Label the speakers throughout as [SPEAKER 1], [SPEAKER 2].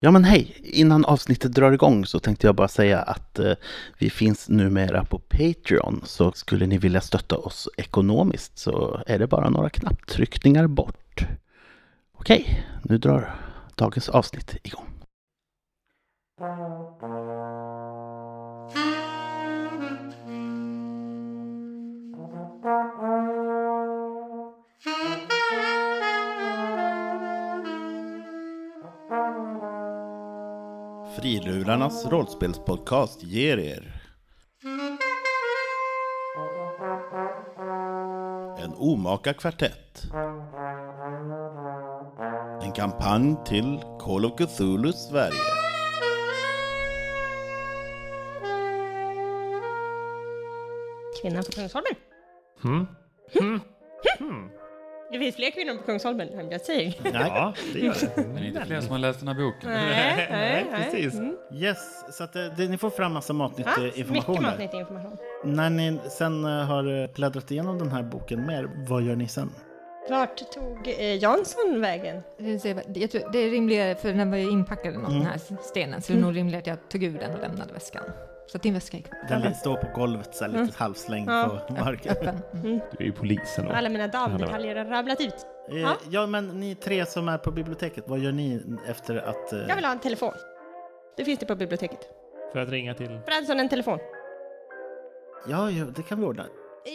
[SPEAKER 1] Ja men hej! Innan avsnittet drar igång så tänkte jag bara säga att eh, vi finns numera på Patreon. Så skulle ni vilja stötta oss ekonomiskt så är det bara några knapptryckningar bort. Okej, nu drar dagens avsnitt igång. Frilurarnas rollspelspodcast ger er En omaka kvartett En kampanj till Call of Cthulhu Sverige
[SPEAKER 2] Kvinnan på Kungsholmen.
[SPEAKER 3] Hmm?
[SPEAKER 2] Hm? Det finns fler kvinnor på Kungsholmen än jag säger.
[SPEAKER 3] Ja, det gör det.
[SPEAKER 4] Men det är inte fler som har läst den här boken.
[SPEAKER 2] Nej, nej, nej.
[SPEAKER 3] Precis. Yes, så att eh, det, det, ni får fram massa matnyttig
[SPEAKER 2] Ja,
[SPEAKER 3] information
[SPEAKER 2] Mycket
[SPEAKER 3] där.
[SPEAKER 2] matnyttig information.
[SPEAKER 3] När ni sen eh, har eh, bläddrat igenom den här boken mer, vad gör ni sen?
[SPEAKER 2] Vart tog eh, Jansson vägen?
[SPEAKER 5] Jag tror, det är rimligare, för den var ju inpackad
[SPEAKER 3] Mm.
[SPEAKER 5] i någon den här stenen, så det är nog rimligare att jag tog ur den och lämnade väskan. Så att din väska är kvar.
[SPEAKER 3] Den står på golvet så
[SPEAKER 2] Mm.
[SPEAKER 3] här, lite halvslängd på marken.
[SPEAKER 5] öppen. Mm.
[SPEAKER 6] Du är ju polisen. Och...
[SPEAKER 2] Alla mina damdetaljer har rabblat ut.
[SPEAKER 3] Eh, Ja, men ni tre som är på biblioteket, vad gör ni efter att... eh,
[SPEAKER 2] Jag vill ha en telefon. Det finns det på biblioteket.
[SPEAKER 6] För att ringa till...
[SPEAKER 2] Fransson, en telefon.
[SPEAKER 3] Ja, ja, det kan vi ordna.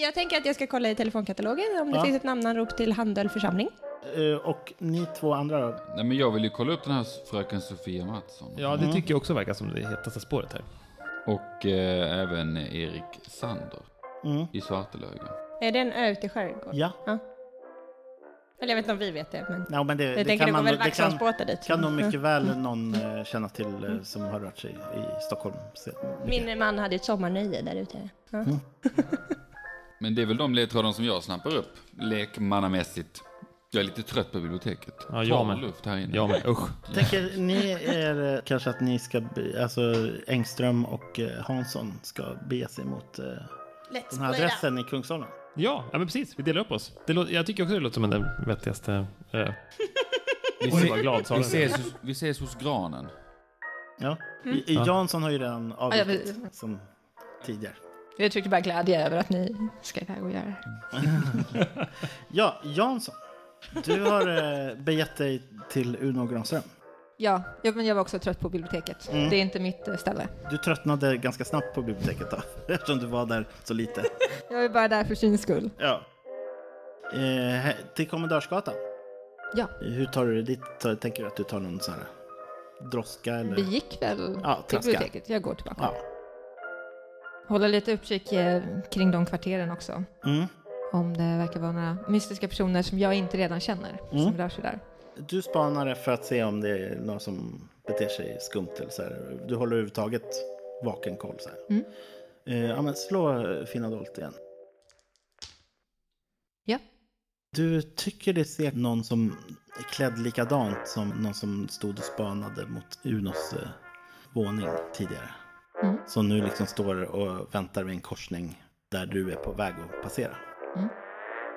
[SPEAKER 2] Jag tänker att jag ska kolla i telefonkatalogen om det
[SPEAKER 3] Ja.
[SPEAKER 2] finns ett namnanrop till Handöl församling.
[SPEAKER 3] Eh, Och ni två andra då?
[SPEAKER 4] Nej, men jag vill ju kolla upp den här fröken Sofia Mattsson.
[SPEAKER 6] Ja, det tycker jag också verkar som det hetaste spåret här.
[SPEAKER 4] Och eh, även Erik Sander
[SPEAKER 3] Mm.
[SPEAKER 4] i Svartelöga.
[SPEAKER 2] Är det en ö ute i skärgården?
[SPEAKER 3] Ja,
[SPEAKER 2] Eller jag vet inte om vi vet det, men
[SPEAKER 3] nej, men det,
[SPEAKER 2] jag
[SPEAKER 3] det
[SPEAKER 2] tänker
[SPEAKER 3] kan
[SPEAKER 2] det går
[SPEAKER 3] man...
[SPEAKER 2] väl
[SPEAKER 3] Det kan,
[SPEAKER 2] Waxholmsbåtar dit.
[SPEAKER 3] kan nog
[SPEAKER 2] Mm.
[SPEAKER 3] mycket väl någon eh, känna till eh, som har rört sig i Stockholm. Så-
[SPEAKER 2] Min man hade ett sommarnöje där ute. Ja.
[SPEAKER 4] Men det är väl de ledtrådarna som jag snappar upp, lekmannamässigt. Jag är lite trött på biblioteket.
[SPEAKER 6] Ja, jag
[SPEAKER 4] Torr
[SPEAKER 6] med.
[SPEAKER 4] luft här inne.
[SPEAKER 6] Ja, men usch.
[SPEAKER 3] Tänker ni er eh, kanske att ni ska, be, alltså Engström och eh, Hansson ska bege sig mot eh,
[SPEAKER 2] Let's
[SPEAKER 3] den här
[SPEAKER 2] play that.
[SPEAKER 3] adressen i Kungsholmen?
[SPEAKER 6] Ja, ja men precis. Vi delar upp oss. Det lå- jag tycker också det låter som den vettigaste... Eh,
[SPEAKER 4] Vi,
[SPEAKER 6] oj, vad glad
[SPEAKER 4] ses,
[SPEAKER 6] sa
[SPEAKER 4] vi,
[SPEAKER 6] den.
[SPEAKER 4] ses, hos- vi ses hos granen.
[SPEAKER 3] Ja. I, i Jansson har ju redan
[SPEAKER 5] Mm. Ja,
[SPEAKER 3] avvikit
[SPEAKER 5] jag
[SPEAKER 3] som tidigare.
[SPEAKER 5] Jag uttryckte bara glädje över att ni ska iväg och göra det.
[SPEAKER 3] Ja, Jansson. Du har eh, begett dig till Uno Granström.
[SPEAKER 5] Ja, jag, men jag var också trött på biblioteket.
[SPEAKER 3] Mm.
[SPEAKER 5] Det är inte mitt eh, ställe.
[SPEAKER 3] Du tröttnade ganska snabbt på biblioteket då, eftersom du var där så lite.
[SPEAKER 5] Jag är bara där för syns skull.
[SPEAKER 3] Ja. Eh, he- till Kommendörsgatan.
[SPEAKER 5] Ja,
[SPEAKER 3] Hur tar du dig dit? Tar- Tänker du att du tar någon sån här droska eller?
[SPEAKER 5] vi gick väl
[SPEAKER 3] Mm. Ja,
[SPEAKER 5] till
[SPEAKER 3] traska.
[SPEAKER 5] biblioteket. Jag går tillbaka.
[SPEAKER 3] Ja.
[SPEAKER 5] Hålla lite uppkik eh, kring de kvarteren också.
[SPEAKER 3] Mm.
[SPEAKER 5] Om det verkar vara några mystiska personer som jag inte redan känner
[SPEAKER 3] Mm.
[SPEAKER 5] som rör sig där.
[SPEAKER 3] Du spanade för att se om det är någon som beter sig skumt eller så här. Du håller överhuvudtaget vaken koll så här.
[SPEAKER 5] Mm.
[SPEAKER 3] Eh, ja, men slå eh, finna dolt igen.
[SPEAKER 5] Ja,
[SPEAKER 3] Du tycker det ser någon som är klädd likadant som någon som stod och spanade mot Unos eh, våning tidigare.
[SPEAKER 5] Mm.
[SPEAKER 3] Som nu liksom står och väntar vid en korsning där du är på väg att passera.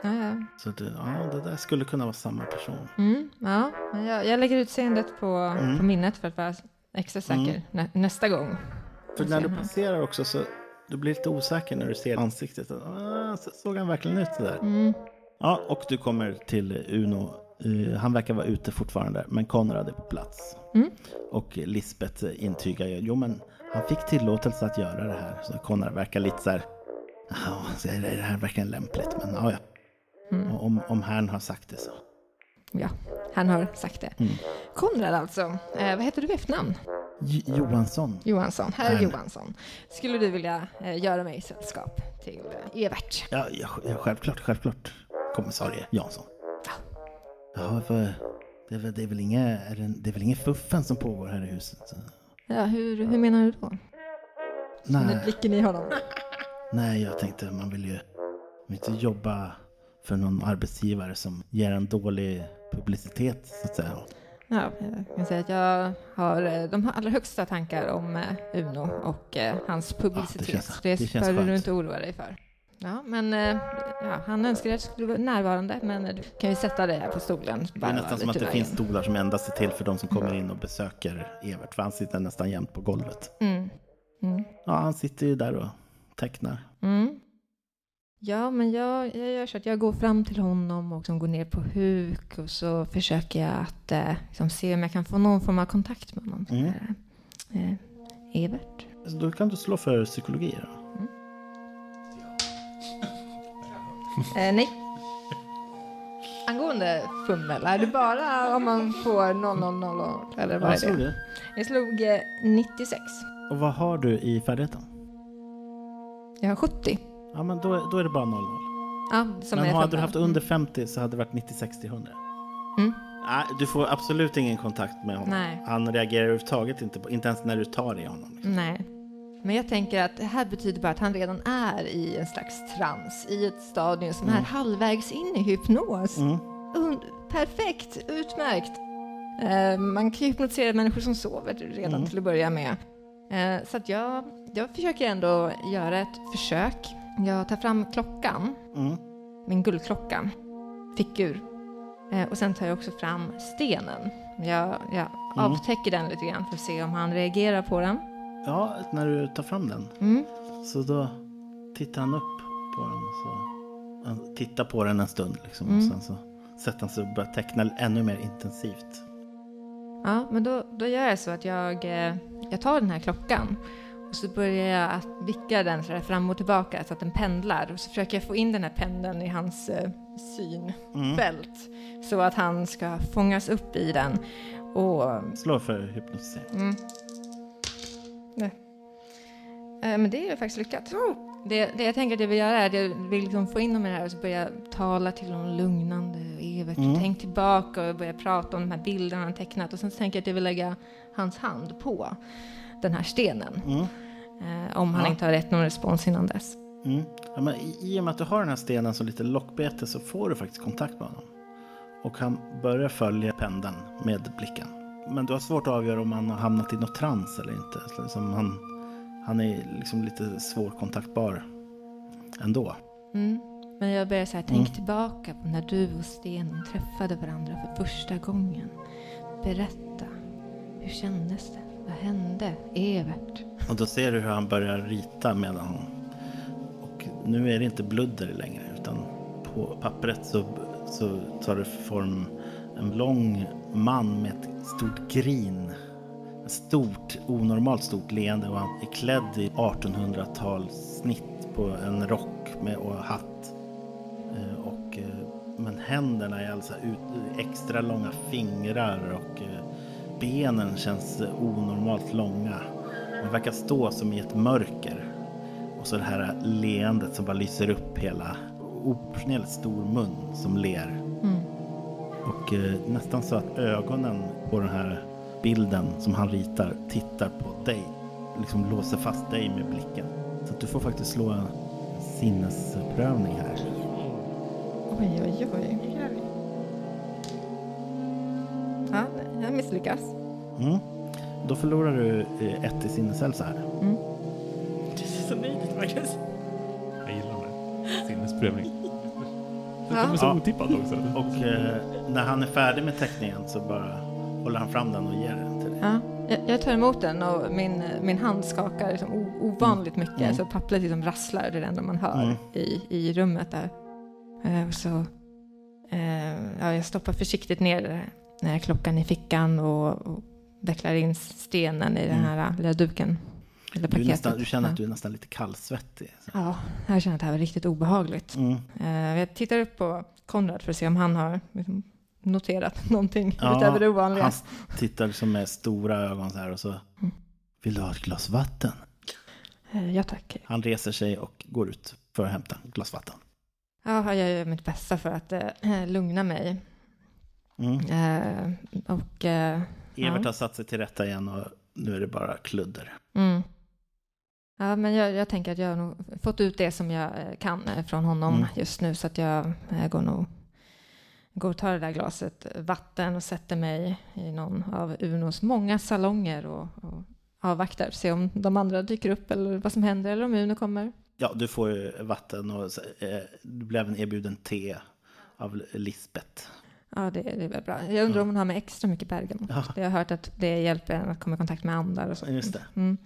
[SPEAKER 5] ja, ja.
[SPEAKER 3] Så du, ja, det där skulle kunna vara samma person.
[SPEAKER 5] Mm, ja, men jag, jag lägger utseendet på, på minnet för att vara extra säker nä, nästa gång.
[SPEAKER 3] För när du
[SPEAKER 5] Mm.
[SPEAKER 3] passerar också så du blir lite osäker när du ser ansiktet. Ah, så- såg han verkligen ut sådär? Ja, och du kommer till Uno. Eh, han verkar vara ute fortfarande, men Konrad är på plats. Och Lisbeth eh, intygar ju, jo men han fick tillåtelse att göra det här. Så Konrad verkar lite så här, ja, så är det är det här verkligen lämpligt, men ja, ja. Och Om, om herrn har sagt det så.
[SPEAKER 5] Ja, han har sagt det. Konrad alltså, eh, vad heter du i efternamn?
[SPEAKER 3] J- Johansson.
[SPEAKER 5] Johansson, herr
[SPEAKER 3] Herr.
[SPEAKER 5] Johansson. Skulle du vilja eh, göra mig sällskap till eh, Evert?
[SPEAKER 3] Ja, ja, sj- ja, självklart, självklart. Kommissarie Jansson. Ja, för det är väl, det är väl inga, är det, det är väl inga fuffen som pågår här i huset? Så-
[SPEAKER 5] Ja, hur, hur menar du då? Nu
[SPEAKER 3] Nej,
[SPEAKER 5] blicken i honom.
[SPEAKER 3] nej, jag tänkte man vill ju vill inte jobba för någon arbetsgivare som ger en dålig publicitet så att säga.
[SPEAKER 5] Ja, jag kan säga att jag har eh, de allra högsta tankar om eh, Uno och eh, hans publicitet.
[SPEAKER 3] Ah, det känns-
[SPEAKER 5] det
[SPEAKER 3] det känns
[SPEAKER 5] behöver du
[SPEAKER 3] skönt.
[SPEAKER 5] inte oroa dig för. Ja, men eh, ja, han önskade att du skulle vara närvarande, men du kan ju sätta dig här på stolen.
[SPEAKER 3] Det är nästan som att det finns stolar som endast är till för de som kommer in och besöker Evert, för han sitter nästan jämt på golvet.
[SPEAKER 5] Mm. Mm.
[SPEAKER 3] Ja, han sitter ju där och tecknar.
[SPEAKER 5] Mm. Ja, men jag, jag gör så att jag går fram till honom och liksom går ner på huk och så försöker jag att eh, liksom se om jag kan få någon form av kontakt med honom.
[SPEAKER 3] Mm.
[SPEAKER 5] Eh, Evert.
[SPEAKER 3] Så då kan du slå för psykologi då.
[SPEAKER 5] Eh, nej. Angående fumel, är det bara om man får 000 eller vad
[SPEAKER 3] Vad
[SPEAKER 5] är
[SPEAKER 3] slog
[SPEAKER 5] det?
[SPEAKER 3] du?
[SPEAKER 5] Jag slog eh, 96.
[SPEAKER 3] Och vad har du i färdigheten?
[SPEAKER 5] Jag har 70.
[SPEAKER 3] Ja, men då, då är det bara 00.
[SPEAKER 5] Ja, som
[SPEAKER 3] Men
[SPEAKER 5] är
[SPEAKER 3] hade du
[SPEAKER 5] fumel.
[SPEAKER 3] haft under 50 så hade det varit 90, 60, 100.
[SPEAKER 5] Mm.
[SPEAKER 3] Nej, du får absolut ingen kontakt med honom.
[SPEAKER 5] Nej.
[SPEAKER 3] Han reagerar överhuvudtaget inte, på, inte ens när du tar i honom.
[SPEAKER 5] Nej. Men jag tänker att det här betyder bara att han redan är i en slags trans, i ett stadium som är halvvägs in i hypnos.
[SPEAKER 3] Mm.
[SPEAKER 5] Und- perfekt, utmärkt. Eh, man kan ju hypnotisera människor som sover redan
[SPEAKER 3] Mm.
[SPEAKER 5] till att börja med. Eh, så att jag, jag försöker ändå göra ett försök. Jag tar fram klockan,
[SPEAKER 3] Mm.
[SPEAKER 5] min guldklocka, fickur. Eh, och sen tar jag också fram stenen. Jag, jag
[SPEAKER 3] Mm.
[SPEAKER 5] avtäcker den lite grann för att se om han reagerar på den.
[SPEAKER 3] Ja, när du tar fram den.
[SPEAKER 5] Mm.
[SPEAKER 3] Så då tittar han upp på den. Och så. Han tittar på den en stund liksom.
[SPEAKER 5] Mm.
[SPEAKER 3] Och sen så sätter han sig och börjar teckna ännu mer intensivt.
[SPEAKER 5] Ja, men då, då gör jag så att jag, eh, jag tar den här klockan och så börjar jag att vicka den så där fram och tillbaka så att den pendlar och så försöker jag få in den här pendeln i hans eh, synfält så att han ska fångas upp i den. Och
[SPEAKER 3] Slå för hypnotisering.
[SPEAKER 5] Eh, Men det är faktiskt lyckat. Det, det jag tänker att jag vill göra är att jag vill liksom få in honom i det här och så börja tala till honom lugnande och Evert. Tänk tillbaka och börja prata om de här bilderna han tecknat och sen tänker jag att jag vill lägga hans hand på den här stenen. Eh, om han inte har rätt någon respons innan dess.
[SPEAKER 3] Mm. Ja, men i, I och med att du har den här stenen som lite lockbete så får du faktiskt kontakt med honom. Och han börjar följa pendeln med blicken. Men du har svårt att avgöra om han har hamnat i något trans eller inte. Så Liksom han, han är liksom lite svårkontaktbar ändå.
[SPEAKER 5] Mm. Men jag börjar så här, tänk tillbaka på när du och stenen träffade varandra för första gången. Berätta, hur kändes det? Vad hände? Evert?
[SPEAKER 3] Och då ser du hur han börjar rita medan hon... Och nu är det inte bludder längre utan på pappret så, så tar det form en lång man med ett stort grin. Ett stort, onormalt stort leende och han är klädd i 1800-talssnitt på en rock med, och hatt. Eh, Och, eh, men händerna är alltså ut, extra långa fingrar och eh, benen känns eh, onormalt långa. Man verkar stå som i ett mörker. Och så det här leendet som bara lyser upp hela oproportionerligt stor mun som ler. Och eh, nästan så att ögonen på den här bilden som han ritar tittar på dig. Liksom låser fast dig med blicken. Så att du får faktiskt slå en sinnesprövning här.
[SPEAKER 5] Oj, oj, oj. Ja, jag misslyckas.
[SPEAKER 3] Mm. Då förlorar du eh, ett i sinneshälsa här.
[SPEAKER 2] Du ser så nöjd ut, Marcus.
[SPEAKER 6] Jag gillar den här sinnesprövningen. Den
[SPEAKER 5] Ja.
[SPEAKER 6] kommer så
[SPEAKER 3] Ja.
[SPEAKER 6] otippat också.
[SPEAKER 3] Och eh, när han är färdig med teckningen så bara håller han fram den och ger den till dig.
[SPEAKER 5] Ja, jag, jag tar emot den och min, min hand skakar liksom o, ovanligt mycket så pappret liksom rasslar, det är det enda man hör
[SPEAKER 3] Mm.
[SPEAKER 5] i, i rummet där. Eh, och så, eh, ja, jag stoppar försiktigt ner eh, klockan i fickan och, och vecklar in stenen i den här eh, lilla duken. Eller
[SPEAKER 3] Mm. Du, är
[SPEAKER 5] paketet.
[SPEAKER 3] nästan, du känner
[SPEAKER 5] Ja.
[SPEAKER 3] att du är nästan lite kallsvettig. Så.
[SPEAKER 5] Ja, jag känner att det här var riktigt obehagligt.
[SPEAKER 3] Mm.
[SPEAKER 5] Eh, Jag tittar upp på Konrad för att se om han har liksom noterat någonting
[SPEAKER 3] Ja,
[SPEAKER 5] utöver det vanliga.
[SPEAKER 3] Han tittar liksom med stora ögon så här och så.
[SPEAKER 5] Mm.
[SPEAKER 3] Vill du ha ett glas vatten?
[SPEAKER 5] Eh, Ja, tack.
[SPEAKER 3] Han reser sig och går ut för att hämta ett glas vatten.
[SPEAKER 5] Ja, jag gör mitt bästa för att eh, lugna mig.
[SPEAKER 3] Mm.
[SPEAKER 5] Eh, och... Eh,
[SPEAKER 3] Evert
[SPEAKER 5] Ja.
[SPEAKER 3] har satt sig till rätta igen och nu är det bara kludder.
[SPEAKER 5] mm. Ja, men jag, jag tänker att jag har nog fått ut det som jag eh, kan eh, från honom
[SPEAKER 3] Mm.
[SPEAKER 5] just nu så att jag eh, går nog går och tar det där glaset vatten och sätter mig i någon av Unos många salonger och, och avvaktar, se om de andra dyker upp eller vad som händer eller om Uno kommer.
[SPEAKER 3] Ja, du får ju vatten och eh, du blev även erbjuden te av Lisbeth.
[SPEAKER 5] Ja, det, det är väl bra. Jag undrar om hon har med extra mycket bergamot. Jag har hört att det hjälper en att komma i kontakt med andar och så.
[SPEAKER 3] Just det.
[SPEAKER 5] Mm.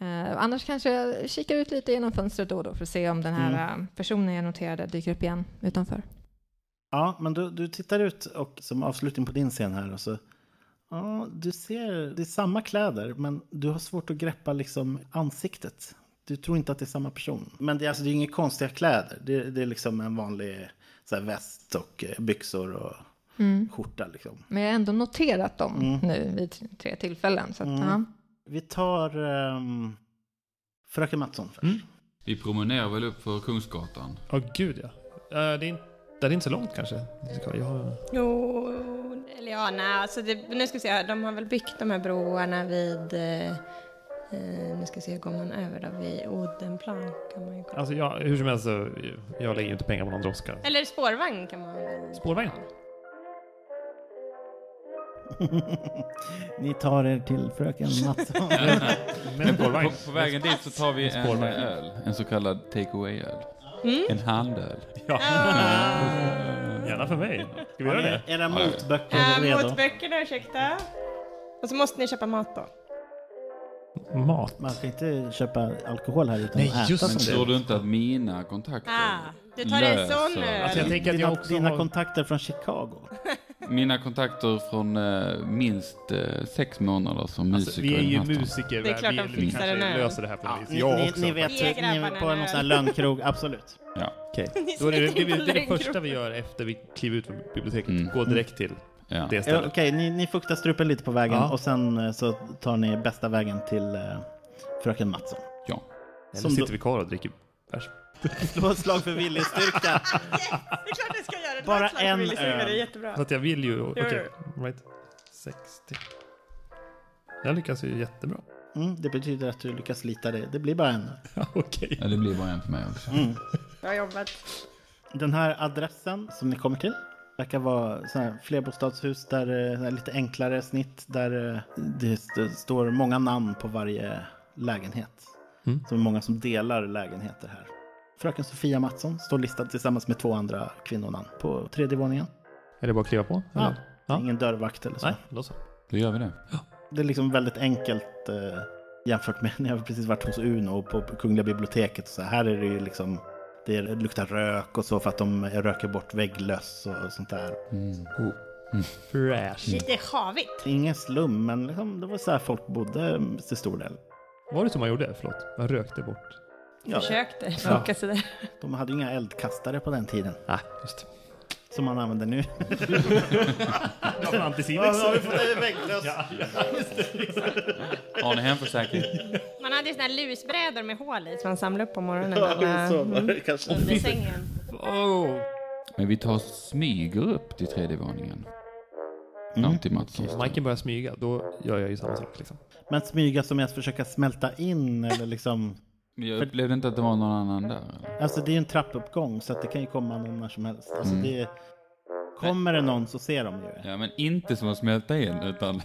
[SPEAKER 5] Eh, annars kanske jag kikar ut lite genom fönstret då och då för att se om den här eh, personen jag noterade dyker upp igen utanför.
[SPEAKER 3] Ja, men du, du tittar ut och som avslutning på din scen här och så Ja, du ser, det är samma kläder men du har svårt att greppa liksom ansiktet. Du tror inte att det är samma person. Men det är, alltså, det är inga konstiga kläder. Det, det är liksom en vanlig så här, väst och eh, byxor och skjorta liksom.
[SPEAKER 5] Men jag har ändå noterat dem nu vid tre tillfällen. Så att, ja.
[SPEAKER 3] Vi tar ehm, Fröken Mattsson först.
[SPEAKER 4] Vi promenerar väl upp för Kungsgatan.
[SPEAKER 6] Åh gud ja. Eh, Det är, inte, det är inte så långt kanske. Jag har...
[SPEAKER 2] Jo, eller ja, nej, alltså det, nu ska vi se, här, de har väl byggt de här broarna vid, eh, eh, nu ska vi se, går man över då vid Odenplan kan man ju gå.
[SPEAKER 6] Alltså jag, hur som helst så, jag lägger ju inte pengar på någon droska.
[SPEAKER 2] Eller spårvagn kan man väl.
[SPEAKER 6] Spårvagn?
[SPEAKER 3] Ni tar er till Fröken Mattsson.
[SPEAKER 6] Men spårvagn.
[SPEAKER 4] På, på vägen dit så tar vi en eh,
[SPEAKER 6] Spårvagn.
[SPEAKER 4] öl. En så kallad take away-öl.
[SPEAKER 6] Mm.
[SPEAKER 4] En handöl.
[SPEAKER 6] Ja. Gärna för mig. Ska vi göra det?
[SPEAKER 3] Era motböcker
[SPEAKER 2] Äh,
[SPEAKER 3] är redo.
[SPEAKER 2] motböckerna, ursäkta. Och så måste ni köpa mat då.
[SPEAKER 6] Mat.
[SPEAKER 3] Man ska inte köpa alkohol här utan
[SPEAKER 6] Nej,
[SPEAKER 3] att
[SPEAKER 6] just
[SPEAKER 3] äta
[SPEAKER 6] det.
[SPEAKER 3] som
[SPEAKER 4] Tror du inte att mina kontakter
[SPEAKER 2] Ah, du tar en
[SPEAKER 3] alltså.
[SPEAKER 2] sån
[SPEAKER 4] löser-
[SPEAKER 2] öl.
[SPEAKER 6] jag tänker att
[SPEAKER 3] Dina,
[SPEAKER 6] jag också
[SPEAKER 3] dina
[SPEAKER 6] har...
[SPEAKER 3] kontakter från Chicago.
[SPEAKER 4] Mina kontakter från eh, minst eh, sex månader som
[SPEAKER 6] Alltså,
[SPEAKER 4] musiker.
[SPEAKER 6] vi är
[SPEAKER 4] i
[SPEAKER 6] ju
[SPEAKER 4] den här stan.
[SPEAKER 6] musiker.
[SPEAKER 2] Det är klart
[SPEAKER 6] vi,
[SPEAKER 2] de
[SPEAKER 6] vi
[SPEAKER 2] fixar
[SPEAKER 6] kanske
[SPEAKER 2] den här.
[SPEAKER 6] löser det här på något vis.
[SPEAKER 3] ni,
[SPEAKER 6] Jag
[SPEAKER 3] ni,
[SPEAKER 6] också.
[SPEAKER 3] ni vet,
[SPEAKER 2] Ge grabbarna
[SPEAKER 3] ni, på
[SPEAKER 2] en
[SPEAKER 3] någon sån här
[SPEAKER 2] öl.
[SPEAKER 3] lönnkrog, absolut.
[SPEAKER 4] Ja.
[SPEAKER 6] Då är det, det, det, det är det
[SPEAKER 2] Längre
[SPEAKER 6] första vi gör efter vi kliver ut från biblioteket. Gå direkt till
[SPEAKER 4] Ja.
[SPEAKER 6] det
[SPEAKER 3] Ja,
[SPEAKER 6] stället.
[SPEAKER 3] Okej, ni, ni fuktar strupen lite på vägen
[SPEAKER 6] Ja.
[SPEAKER 3] och sen eh, så tar ni bästa vägen till eh, Fröken Mattsson.
[SPEAKER 4] ja.
[SPEAKER 6] Eller
[SPEAKER 3] som
[SPEAKER 6] sitter
[SPEAKER 3] då-
[SPEAKER 6] vi kvar och dricker bärs.
[SPEAKER 3] Slå ett slag för viljestyrka.
[SPEAKER 2] Det är klart du ska göra. Det
[SPEAKER 3] Bara
[SPEAKER 2] var ett slag för
[SPEAKER 3] en
[SPEAKER 2] Willy Singer,
[SPEAKER 3] öl.
[SPEAKER 2] Det är jättebra.
[SPEAKER 6] Så att jag vill ju... Okej,
[SPEAKER 2] Gör
[SPEAKER 6] right. 60. Jag lyckas ju jättebra.
[SPEAKER 3] Mm, det betyder att du lyckas lita dig. Det blir bara en.
[SPEAKER 6] Ja, Okej.
[SPEAKER 4] ja, det blir bara en för mig också.
[SPEAKER 6] Mm.
[SPEAKER 2] Bra jobbat.
[SPEAKER 3] Den här adressen som ni kommer till verkar vara sån här flerbostadshus där eh, sån här lite enklare snitt där eh, det st- står många namn på varje lägenhet.
[SPEAKER 6] Mm.
[SPEAKER 3] Så det är många som delar lägenheter här. Fröken Sofia Mattsson står listad tillsammans med två andra kvinnonamn på tredje våningen.
[SPEAKER 6] Är det bara att kliva på?
[SPEAKER 3] Ja.
[SPEAKER 6] eller? Ja.
[SPEAKER 3] Ingen dörrvakt eller så.
[SPEAKER 6] Nej, då så.
[SPEAKER 4] Då gör vi det.
[SPEAKER 3] Det är liksom väldigt enkelt eh, jämfört med när jag precis varit hos Uno och på Kungliga biblioteket. Och så här är det ju liksom, det luktar rök och så för att de röker bort vägglöss och, och sånt där.
[SPEAKER 6] Mm.
[SPEAKER 4] Oh.
[SPEAKER 6] Fresh.
[SPEAKER 2] Lite sjavigt.
[SPEAKER 3] Ingen slum, men liksom, det var så här folk bodde mm, till stor del.
[SPEAKER 6] Var det så man gjorde? Förlåt. Man rökte bort.
[SPEAKER 3] Ja,
[SPEAKER 2] Försökte funka sådär.
[SPEAKER 3] de hade ju inga eldkastare på den tiden
[SPEAKER 6] Ah, just det.
[SPEAKER 3] som man använder nu.
[SPEAKER 6] Ja, men Antisilex.
[SPEAKER 3] vägglöss.
[SPEAKER 4] Har ni hemförsäkring?
[SPEAKER 2] Man hade ju såna här lusbrädor med hål i som man samlade upp på morgonen. alla-
[SPEAKER 3] kanske.
[SPEAKER 2] under sängen.
[SPEAKER 6] Oh.
[SPEAKER 4] Men vi tar och smyger upp till tredje våningen.
[SPEAKER 6] Mm.
[SPEAKER 4] Fram till Matssons.
[SPEAKER 6] Om Majken börjar smyga, då gör jag ju samma sak. Liksom.
[SPEAKER 3] Men smyga som är att försöka smälta in eller liksom.
[SPEAKER 4] Men jag upplevde inte att det var någon annan där. eller?
[SPEAKER 3] Alltså det är ju en trappuppgång så att det kan ju komma någon när som helst. Alltså, det är, kommer det någon så ser de ju.
[SPEAKER 4] Ja, men inte som att smälta in, utan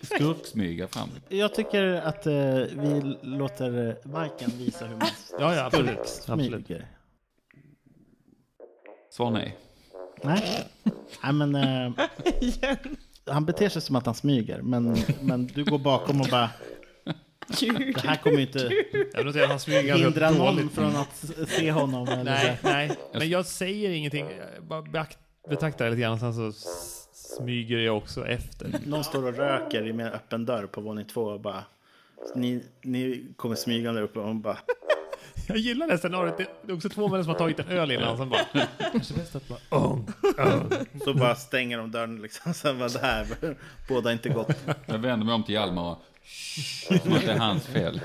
[SPEAKER 4] skurksmyga fram.
[SPEAKER 3] Jag tycker att eh, vi låter eh, Majken visa hur man
[SPEAKER 6] Ja, ja, absolut. absolut.
[SPEAKER 3] smyger.
[SPEAKER 4] Svar nej.
[SPEAKER 3] Nej, Nej men... Eh, han beter sig som att han smyger, men, men du går bakom och bara... Det här kommer ju inte
[SPEAKER 6] Jag vill inte säga att han smyger
[SPEAKER 3] hindra
[SPEAKER 6] ganska
[SPEAKER 3] någon
[SPEAKER 6] dåligt.
[SPEAKER 3] från att se honom. Eller
[SPEAKER 6] Nej,
[SPEAKER 3] nej.
[SPEAKER 6] nej. Men jag säger ingenting. Jag bara beakt, betraktar det lite grann. Sen så s- smyger jag också efter.
[SPEAKER 3] Någon står och röker i en öppen dörr på våning två och bara... Ni, ni kommer smygande upp och bara...
[SPEAKER 6] Jag gillar det scenariot. Det- Det är också två män som har tagit en öl innan. Sen bara... Kanske bäst att bara... Oh.
[SPEAKER 3] Så bara stänger de dörren liksom. Sen var det här. Båda inte gott.
[SPEAKER 4] Jag vänder mig om till Hjalmar och som att det är hans fel.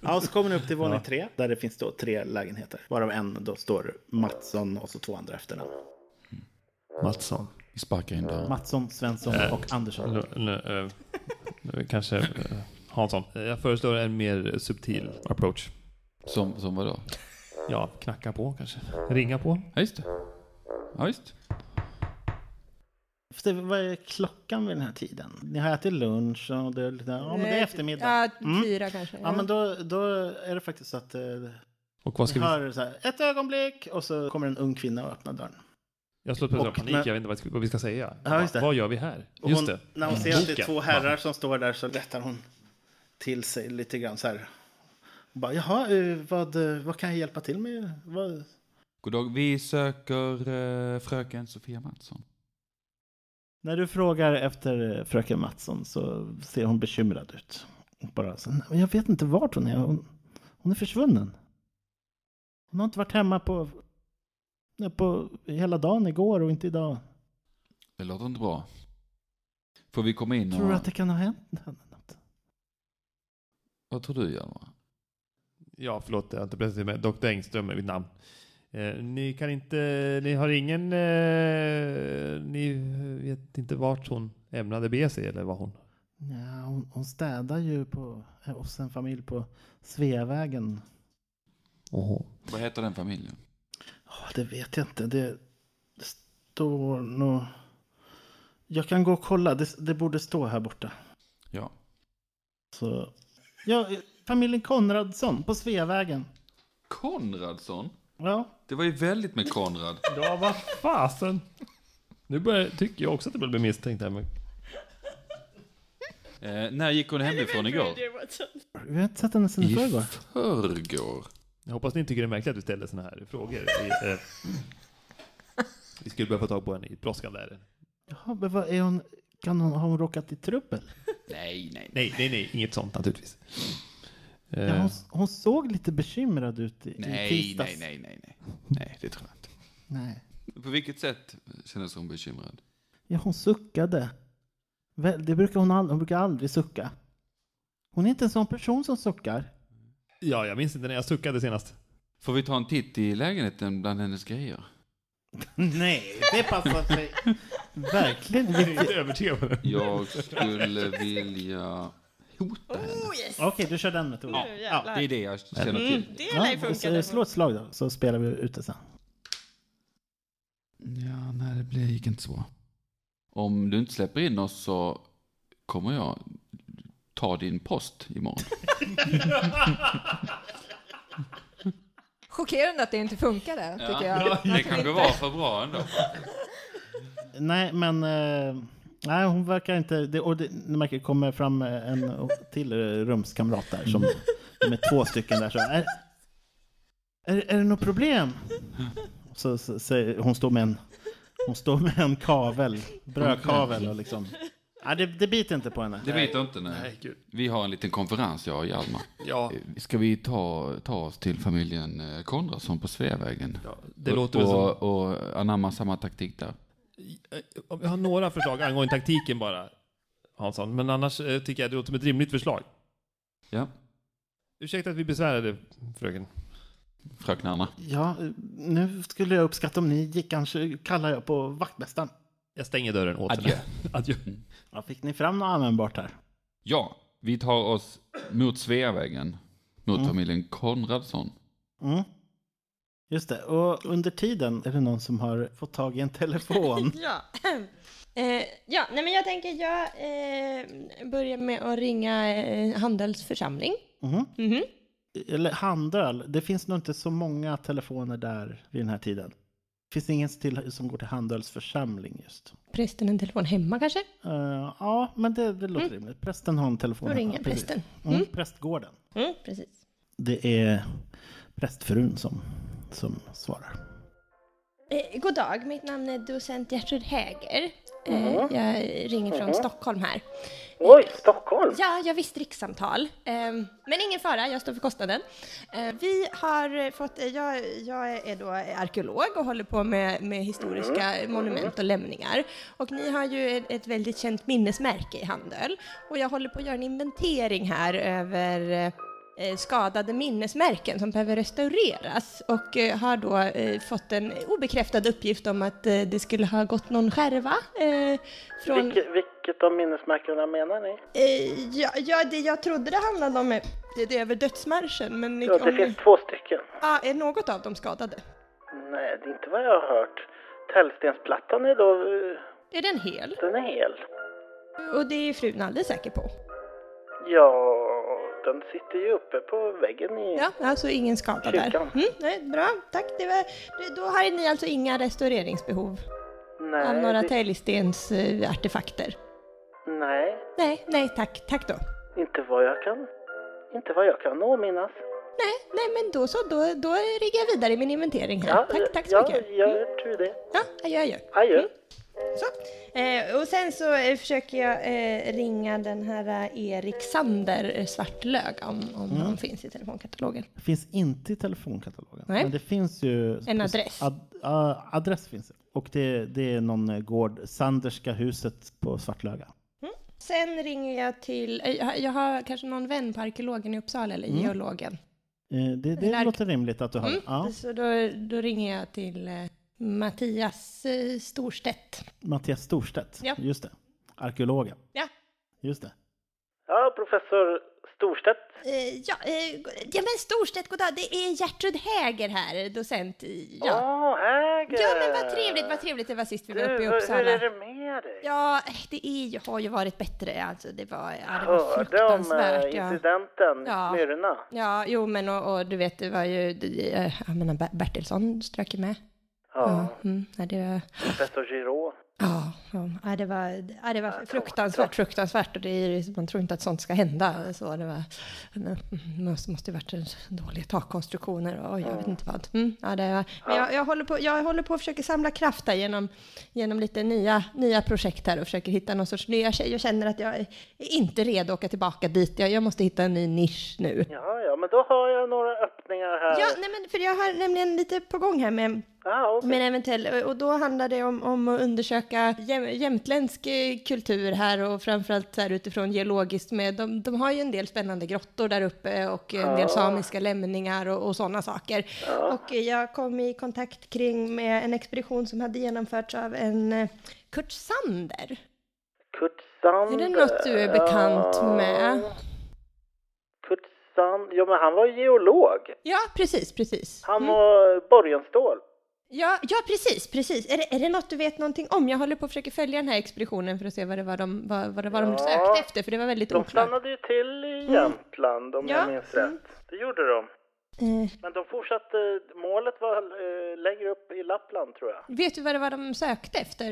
[SPEAKER 3] Ja, och så kommer ni upp till våning tre. Där det finns då tre lägenheter. Varav en då står Mattsson och så två andra efternamn.
[SPEAKER 6] Mattsson.
[SPEAKER 4] Vi sparkar in dörren.
[SPEAKER 3] Mattsson, Svensson
[SPEAKER 6] Äh,
[SPEAKER 3] och Andersson.
[SPEAKER 6] Nu, nu, eh, nu, kanske eh, Hansson. Eh, Jag föreslår en mer subtil approach.
[SPEAKER 4] Som, som vadå?
[SPEAKER 6] Ja, knacka på kanske. Ringa på.
[SPEAKER 4] Ja, just det. Ja, just.
[SPEAKER 3] För det- vad är klockan vid den här tiden? Ni har ätit lunch och det är lite, ja men det är eftermiddag. Mm.
[SPEAKER 2] Ja, fyra kanske.
[SPEAKER 3] Ja men då, då är det faktiskt så att eh,
[SPEAKER 6] Och
[SPEAKER 3] ni
[SPEAKER 6] vad ska vi...
[SPEAKER 3] hör så här, ett ögonblick och så kommer en ung kvinna och öppnar dörren.
[SPEAKER 6] Jag slår på
[SPEAKER 3] Och-
[SPEAKER 6] panik,
[SPEAKER 3] men-
[SPEAKER 6] jag vet inte vad vi ska- vad vi ska säga.
[SPEAKER 3] Ja, just det.
[SPEAKER 6] Vad gör vi här?
[SPEAKER 3] Och
[SPEAKER 6] Just
[SPEAKER 3] hon,
[SPEAKER 6] det.
[SPEAKER 3] När hon ser att det är
[SPEAKER 6] Boken.
[SPEAKER 3] två herrar som står där så rättar hon till sig lite grann så här. Hon bara, jaha, eh, vad, eh, vad kan jag hjälpa till med? Vad?
[SPEAKER 4] God dag, vi söker eh, fröken Sofia Mattsson.
[SPEAKER 3] När du frågar efter eh, fröken Mattsson så ser hon bekymrad ut. Hon bara, så, "Nej, men jag vet inte vart hon är. Hon, hon är försvunnen. Hon har inte varit hemma på, nej, på hela dagen igår och inte idag.
[SPEAKER 4] Det låter inte bra. Får vi komma in och...
[SPEAKER 3] Tror du att det kan ha hänt henne något?
[SPEAKER 4] Vad tror du, Hjalmar?
[SPEAKER 6] Ja, förlåt, jag har inte presenterat mig. Dr. Engström är mitt namn. Eh, ni kan inte, ni har ingen, eh, ni vet inte vart hon ämnade bege sig eller vad hon...
[SPEAKER 3] Ja, hon, hon städar ju på, eh, hos en familj på Sveavägen
[SPEAKER 6] Oho.
[SPEAKER 4] Vad heter den familjen?
[SPEAKER 3] Ja, det vet jag inte. Det står nog... Jag kan gå och kolla. Det, det borde stå här borta.
[SPEAKER 4] Ja.
[SPEAKER 3] Så... Ja, familjen Konradsson på Sveavägen.
[SPEAKER 4] Konradsson?
[SPEAKER 3] Ja,
[SPEAKER 4] Det var ju väldigt med Konrad.
[SPEAKER 6] Ja, vad fasen! Nu börjar, tycker jag också att det börjar bli misstänkt här men...
[SPEAKER 4] Eh, när gick hon hemifrån igår?
[SPEAKER 3] vi har inte sett henne sen i förrgår.
[SPEAKER 4] förrgår.
[SPEAKER 6] Jag hoppas ni inte tycker det är märkligt att vi ställer såna här frågor. Vi, eh, vi skulle behöva få tag på henne i ett brådskande ärende.
[SPEAKER 3] Jaha, men vad är hon... Kan hon, har hon råkat i trubbel?
[SPEAKER 4] Nej, nej.
[SPEAKER 6] Nej, nej, nej, inget sånt naturligtvis. Eh,
[SPEAKER 3] Ja, hon, hon såg lite bekymrad ut i, i
[SPEAKER 4] Nej,
[SPEAKER 3] tisdags.
[SPEAKER 4] nej, nej, nej, nej. Nej, det tror jag inte.
[SPEAKER 3] nej.
[SPEAKER 4] På vilket sätt kändes hon bekymrad?
[SPEAKER 3] Ja, hon suckade. Väl, Det brukar hon, aldrig, hon brukar aldrig sucka. Hon är inte en sån person som suckar.
[SPEAKER 6] Ja, jag minns inte när jag suckade senast.
[SPEAKER 4] Får vi ta en titt i lägenheten bland hennes grejer?
[SPEAKER 3] Nej, det passar sig. Verkligen inte.
[SPEAKER 6] Inte övertygad om det.
[SPEAKER 4] Jag skulle vilja hota henne.
[SPEAKER 3] Okej, du kör den metoden.
[SPEAKER 2] Oh, jävlar.
[SPEAKER 4] Det är det jag känner till.
[SPEAKER 2] Det lär ju
[SPEAKER 3] så,
[SPEAKER 2] funka.
[SPEAKER 3] slå ett slag då, så spelar vi ut det sen.
[SPEAKER 4] Ja, nej, det blev- gick inte så bra. Om du inte släpper in oss så kommer jag ta din post imorgon.
[SPEAKER 5] Chockerande att det inte funkade, tycker jag. Att
[SPEAKER 4] Det
[SPEAKER 5] vi
[SPEAKER 4] kanske
[SPEAKER 5] inte-
[SPEAKER 4] var för bra ändå.
[SPEAKER 3] Nej, men... eh, nej, hon verkar inte... Det, och det, ni märker, det kommer fram eh, en och till eh, rumskamrat där. Som,
[SPEAKER 5] Mm.
[SPEAKER 3] de är två stycken där. Så, är, är, är det något problem? Så, så, säger- hon står med en... Hon står med en kavel, brödkavel och liksom... Nej, det, det biter inte på henne.
[SPEAKER 4] Det vet jag inte, nej.
[SPEAKER 6] Nej, gud.
[SPEAKER 4] Vi har en liten konferens, jag och Hjalmar.
[SPEAKER 6] Ja,
[SPEAKER 4] Eh, Ska vi ta, ta oss till familjen eh, Konradsson på Sveavägen?
[SPEAKER 6] ja det
[SPEAKER 4] och,
[SPEAKER 6] låter väl som...
[SPEAKER 4] och, och anamma samma taktik där.
[SPEAKER 6] Eh, Jag har några förslag angående taktiken bara, Hansson. Men annars eh, tycker jag det låter som ett rimligt förslag.
[SPEAKER 4] Ja,
[SPEAKER 6] Ursäkta att vi besvärade fröken.
[SPEAKER 4] fröknarna.
[SPEAKER 3] Ja, nu skulle jag uppskatta om ni gick kanske, kallar jag på vaktmästaren.
[SPEAKER 6] Jag stänger dörren åt
[SPEAKER 4] Adjö.
[SPEAKER 6] henne. Adjö.
[SPEAKER 3] Ja, fick ni fram något användbart här?
[SPEAKER 4] Ja, vi tar oss mot Sveavägen. Mot familjen Konradsson.
[SPEAKER 3] Mm. Just det, och under tiden är det någon som har fått tag i en telefon.
[SPEAKER 2] Ja. Eh, ja, nej men jag tänker jag eh, börjar med att ringa eh, handelsförsamling.
[SPEAKER 3] Mhm.
[SPEAKER 2] Mhm.
[SPEAKER 3] Eller handöl, det finns nog inte så många telefoner där vid den här tiden. Finns det ingen till, som går till handelsförsamling just?
[SPEAKER 2] Prästen en telefon hemma kanske?
[SPEAKER 3] Eh, ja, men det, det låter rimligt. Prästen har en telefon.
[SPEAKER 2] Mm. Då
[SPEAKER 3] hemma,
[SPEAKER 2] ringer
[SPEAKER 3] precis.
[SPEAKER 2] prästen.
[SPEAKER 3] Mm. Prästgården.
[SPEAKER 2] Mm, precis.
[SPEAKER 3] Det är prästfrun som, som svarar.
[SPEAKER 2] Eh, god dag, mitt namn är docent Gertrud Häger. Eh, Jag ringer från Stockholm här.
[SPEAKER 7] Oj, Stockholm!
[SPEAKER 2] Ja, jag visst rikssamtal. Ehm, Men ingen fara, jag står för kostnaden. Ehm, Vi har fått, jag, jag är då arkeolog och håller på med, med historiska monument och lämningar. Och ni har ju ett, ett väldigt känt minnesmärke i Handel. Och jag håller på att göra en inventering här över eh, skadade minnesmärken som behöver restaureras och eh, har då eh, fått en obekräftad uppgift om att eh, det skulle ha gått någon skärva eh, från...
[SPEAKER 7] Vilke, vilket av minnesmärkena menar ni?
[SPEAKER 2] Eh, ja, ja, det jag trodde det handlade om är det, det är över dödsmarschen, men
[SPEAKER 7] Ja,
[SPEAKER 2] om,
[SPEAKER 7] det finns två stycken.
[SPEAKER 2] ah, är något av dem skadade?
[SPEAKER 7] Nej, det är inte vad jag har hört. Tällstensplattan är då... eh,
[SPEAKER 2] Är den hel?
[SPEAKER 7] Den är hel.
[SPEAKER 2] Och det är frun alldeles säker på.
[SPEAKER 7] Ja, den sitter ju uppe på väggen i...
[SPEAKER 2] Ja, alltså ingen skada där.
[SPEAKER 7] Kyrkan.
[SPEAKER 2] Mm, nej, bra, tack. Det var, det- då har ni alltså inga restaureringsbehov av
[SPEAKER 7] Nej,
[SPEAKER 2] några
[SPEAKER 7] det-
[SPEAKER 2] Täljstens eh, artefakter?
[SPEAKER 7] Nej,
[SPEAKER 2] Nej, nej tack, tack då.
[SPEAKER 7] inte vad jag kan... Inte vad jag kan åminnas.
[SPEAKER 2] Nej, nej men då så, då, då riggar jag vidare i min inventering här. tack, tack så
[SPEAKER 7] ja,
[SPEAKER 2] mycket.
[SPEAKER 7] Ja, jag tror det.
[SPEAKER 2] Ja, adjö, adjö.
[SPEAKER 7] Adjö.
[SPEAKER 2] Mm. Så. Eh, och sen så eh, försöker jag eh, ringa den här eh, Erik Sander eh, Svartlög om,
[SPEAKER 3] Mm.
[SPEAKER 2] om han finns i telefonkatalogen.
[SPEAKER 3] Finns inte i telefonkatalogen.
[SPEAKER 2] Nej.
[SPEAKER 3] Men det finns ju...
[SPEAKER 2] En adress.
[SPEAKER 3] Ad, ja, adress finns det. Och det, det är någon eh, gård, Sanderska huset på Svartlöga.
[SPEAKER 2] Sen ringer jag till, eh, jag har- jag har kanske någon vän på arkeologen i Uppsala eller
[SPEAKER 3] Mm.
[SPEAKER 2] geologen.
[SPEAKER 3] Eh, Det, det
[SPEAKER 2] Lark.
[SPEAKER 3] låter rimligt att du har...
[SPEAKER 2] Mm.
[SPEAKER 3] Ja,
[SPEAKER 2] Så då, då ringer jag till eh, Mattias eh, Storstedt.
[SPEAKER 3] Mattias Storstedt,
[SPEAKER 2] Ja.
[SPEAKER 3] just det. Arkeologen,
[SPEAKER 2] Ja,
[SPEAKER 3] just det.
[SPEAKER 7] Ja, professor Storstedt.
[SPEAKER 2] eh, ja, eh, ja men Storstedt, goddag, det är Gertrud Häger här, docent i, ja.
[SPEAKER 7] Åh, Häger!
[SPEAKER 2] Ja men vad trevligt, vad trevligt det var sist vi var uppe i
[SPEAKER 7] hur är
[SPEAKER 2] Uppsala.
[SPEAKER 7] det med dig?
[SPEAKER 2] Ja, det är, ju- har ju varit bättre alltså. Det var, ja, det var
[SPEAKER 7] Hörde om eh,
[SPEAKER 2] fruktansvärt. Ja.
[SPEAKER 7] incidenten i
[SPEAKER 2] Ja.
[SPEAKER 7] Smyrna.
[SPEAKER 2] ja, jo men och, och du vet, det var ju, det- eh, jag menar Ber- Bertilsson strök ju med.
[SPEAKER 7] Ja,
[SPEAKER 2] mm, ja, det var,
[SPEAKER 7] professor Giraud.
[SPEAKER 2] ja, ja, det var, ja, det var fruktansvärt, fruktansvärt. Och det är, ju- man tror inte att sånt ska hända. Så det var, men, mm, måste, måste ju varit en dåliga takkonstruktioner och oj, jag vet inte vad. Mm, ja, det var, men jag, jag, håller på, jag håller på och försöker samla kraft här genom, genom lite nya, nya projekt här och försöker hitta någon sorts ny. Jag, k- jag känner att jag är inte redo att åka tillbaka dit. Jag, jag måste hitta en ny nisch nu.
[SPEAKER 7] Ja, ja, men då har jag några öppningar här.
[SPEAKER 2] Ja, nej, men för jag har nämligen lite på gång här med
[SPEAKER 7] Ja, okej.
[SPEAKER 2] men eventuellt, och då handlar det om, om att undersöka jäm, jämtländsk eh, kultur här och framförallt så här utifrån geologiskt. Med, de, de har ju en del spännande grottor där uppe och en del samiska lämningar och, och sådana saker. Och eh, jag kom i kontakt kring med en expedition som hade genomförts av en eh, Kurt Sander.
[SPEAKER 7] Kurt Sander.
[SPEAKER 2] Är det något du är bekant
[SPEAKER 7] Ja,
[SPEAKER 2] med?
[SPEAKER 7] Kurt Sander. Jo, men han var geolog.
[SPEAKER 2] Ja, precis, precis. Mm.
[SPEAKER 7] Han var Borgenstål.
[SPEAKER 2] Ja, ja precis, precis. Är det, är det något du vet någonting om? Jag håller på att försöka följa den här expeditionen för att se vad det var de, vad, vad det var de
[SPEAKER 7] Ja.
[SPEAKER 2] sökte efter, för det var väldigt
[SPEAKER 7] De
[SPEAKER 2] oklart.
[SPEAKER 7] stannade ju till i Jämtland, om
[SPEAKER 2] Ja,
[SPEAKER 7] jag minns
[SPEAKER 2] mm.
[SPEAKER 7] rätt. Det gjorde de.
[SPEAKER 2] Eh,
[SPEAKER 7] Men de fortsatte, målet var eh, längre upp i Lappland, tror jag.
[SPEAKER 2] vet du vad det var de sökte efter?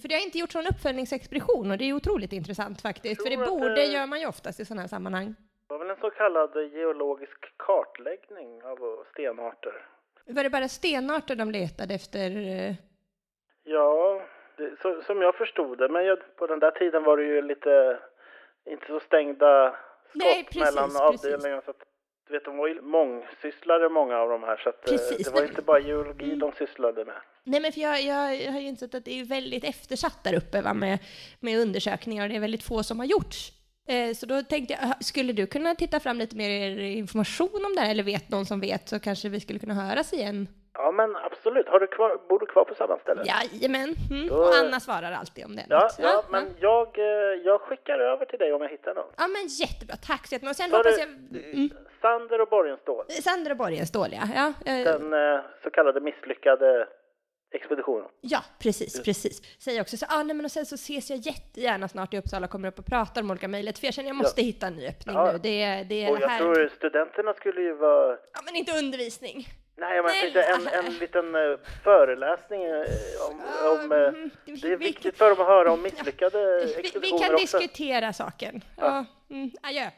[SPEAKER 2] För det har inte gjorts någon uppföljningsexpedition och det är otroligt intressant faktiskt. För
[SPEAKER 7] tror
[SPEAKER 2] det
[SPEAKER 7] att
[SPEAKER 2] borde,
[SPEAKER 7] det-
[SPEAKER 2] gör man ju oftast i sådana här sammanhang.
[SPEAKER 7] Det var väl en så kallad geologisk kartläggning av stenarter.
[SPEAKER 2] Var det bara stenarter de letade efter? eh?
[SPEAKER 7] Ja, det, så, som jag förstod det. Men jag, på den där tiden var det ju lite, inte så stängda skott
[SPEAKER 2] Nej, precis,
[SPEAKER 7] mellan
[SPEAKER 2] precis.
[SPEAKER 7] avdelningarna. Så att, du vet, de var ju mångsysslare många av de här. Så att, eh,
[SPEAKER 2] Precis,
[SPEAKER 7] det var
[SPEAKER 2] nej.
[SPEAKER 7] inte bara geologi de sysslade med.
[SPEAKER 2] Nej men för jag, jag har ju insett att det är väldigt eftersatt där uppe va, med, med undersökningar och det är väldigt få som har gjorts. Eh, så då tänkte jag, ah, skulle du kunna titta fram lite mer information om det här eller vet någon som vet så kanske vi skulle kunna höras igen?
[SPEAKER 7] Ja, men absolut. Har du kvar, bor du kvar på samma ställe?
[SPEAKER 2] Jajamän. Mm. Och Anna svarar alltid om det. är
[SPEAKER 7] Ja,
[SPEAKER 2] något.
[SPEAKER 7] ja,
[SPEAKER 2] ja.
[SPEAKER 7] men jag, eh, jag skickar över till dig om jag hittar någon.
[SPEAKER 2] Ja men jättebra, tack så jättemycket. Och sen
[SPEAKER 7] Sa
[SPEAKER 2] hoppas
[SPEAKER 7] du-
[SPEAKER 2] jag... Mm.
[SPEAKER 7] Sander och Borgenstål,
[SPEAKER 2] Sandra Borgenstål ja. Ja, eh,
[SPEAKER 7] den eh, så kallade misslyckade expeditionen.
[SPEAKER 2] ja precis, precis. Säger också så, ah, nej men och sen så ses jag jättegärna snart i Uppsala och kommer upp och pratar om olika möjligheter. För jag känner jag måste hitta en ny öppning
[SPEAKER 7] Ja.
[SPEAKER 2] nu. Det, är- det är
[SPEAKER 7] Och
[SPEAKER 2] det
[SPEAKER 7] jag
[SPEAKER 2] här.
[SPEAKER 7] tror studenterna skulle ju vara
[SPEAKER 2] Ja men inte undervisning.
[SPEAKER 7] Nej, men
[SPEAKER 2] Nej. alltså,
[SPEAKER 7] tänkte en, en liten eh, föreläsning eh, om, om eh,
[SPEAKER 2] Mm,
[SPEAKER 7] det är
[SPEAKER 2] vi-
[SPEAKER 7] viktigt för dem att höra om misslyckade
[SPEAKER 2] Vi, vi
[SPEAKER 7] expeditioner
[SPEAKER 2] kan
[SPEAKER 7] också.
[SPEAKER 2] diskutera saken. Ja. Mm, adjö.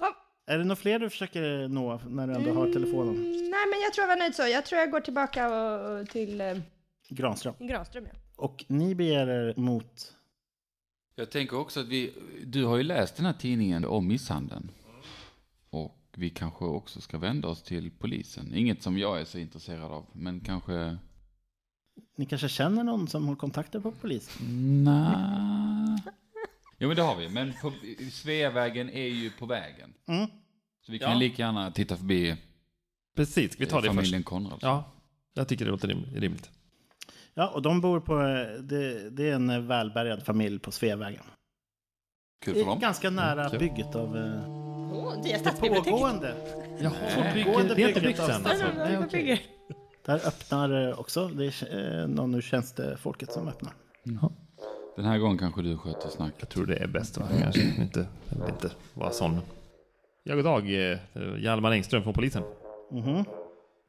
[SPEAKER 2] Ja.
[SPEAKER 3] Är det något fler du försöker nå när du ändå har telefonen?
[SPEAKER 2] Mm, nej men jag tror jag var nöjd så. Jag tror jag går tillbaka och, och till eh,
[SPEAKER 3] Granström.
[SPEAKER 2] Granström ja.
[SPEAKER 3] Och ni beger er mot...
[SPEAKER 4] Jag tänker också att vi, du har ju läst den här tidningen om misshandeln. Och vi kanske också ska vända oss till polisen. Inget som jag är så intresserad av, men kanske...
[SPEAKER 3] Ni kanske känner någon som har kontakter på polisen?
[SPEAKER 4] Nja... Jo men det har vi, men på, Sveavägen är ju på vägen.
[SPEAKER 3] Mm.
[SPEAKER 4] Så vi kan
[SPEAKER 6] Ja.
[SPEAKER 4] lika gärna titta förbi
[SPEAKER 6] Precis, ska vi tar
[SPEAKER 4] eh,
[SPEAKER 6] det
[SPEAKER 4] familjen
[SPEAKER 6] först.
[SPEAKER 4] Konrad.
[SPEAKER 6] Ja, jag tycker det låter rim- rimligt.
[SPEAKER 3] Ja, och de bor på... eh, Det, det är en eh, välbärgad familj på Sveavägen.
[SPEAKER 4] Kul
[SPEAKER 3] Det
[SPEAKER 4] för
[SPEAKER 3] är
[SPEAKER 4] dem.
[SPEAKER 3] ganska nära
[SPEAKER 4] så.
[SPEAKER 3] bygget av... eh,
[SPEAKER 2] Åh, det är
[SPEAKER 3] Det
[SPEAKER 2] stadsbiblioteket.
[SPEAKER 3] pågående.
[SPEAKER 6] Jaha,
[SPEAKER 3] Pågående
[SPEAKER 6] bygger, det är inte
[SPEAKER 3] bygget
[SPEAKER 6] byggt
[SPEAKER 3] av
[SPEAKER 6] än alltså.
[SPEAKER 3] stadsbiblioteket.
[SPEAKER 6] Nej, okej.
[SPEAKER 3] Där öppnar eh, också... Det är eh, någon ur tjänstefolket som öppnar.
[SPEAKER 4] Den här gången kanske du sköter
[SPEAKER 6] Jag
[SPEAKER 4] snacket.
[SPEAKER 6] tror det är bäst va, kanske. Jag vill Inte, jag vill inte vara sån. Ja, god dag. eh, Hjalmar Engström från polisen.
[SPEAKER 3] Mhm.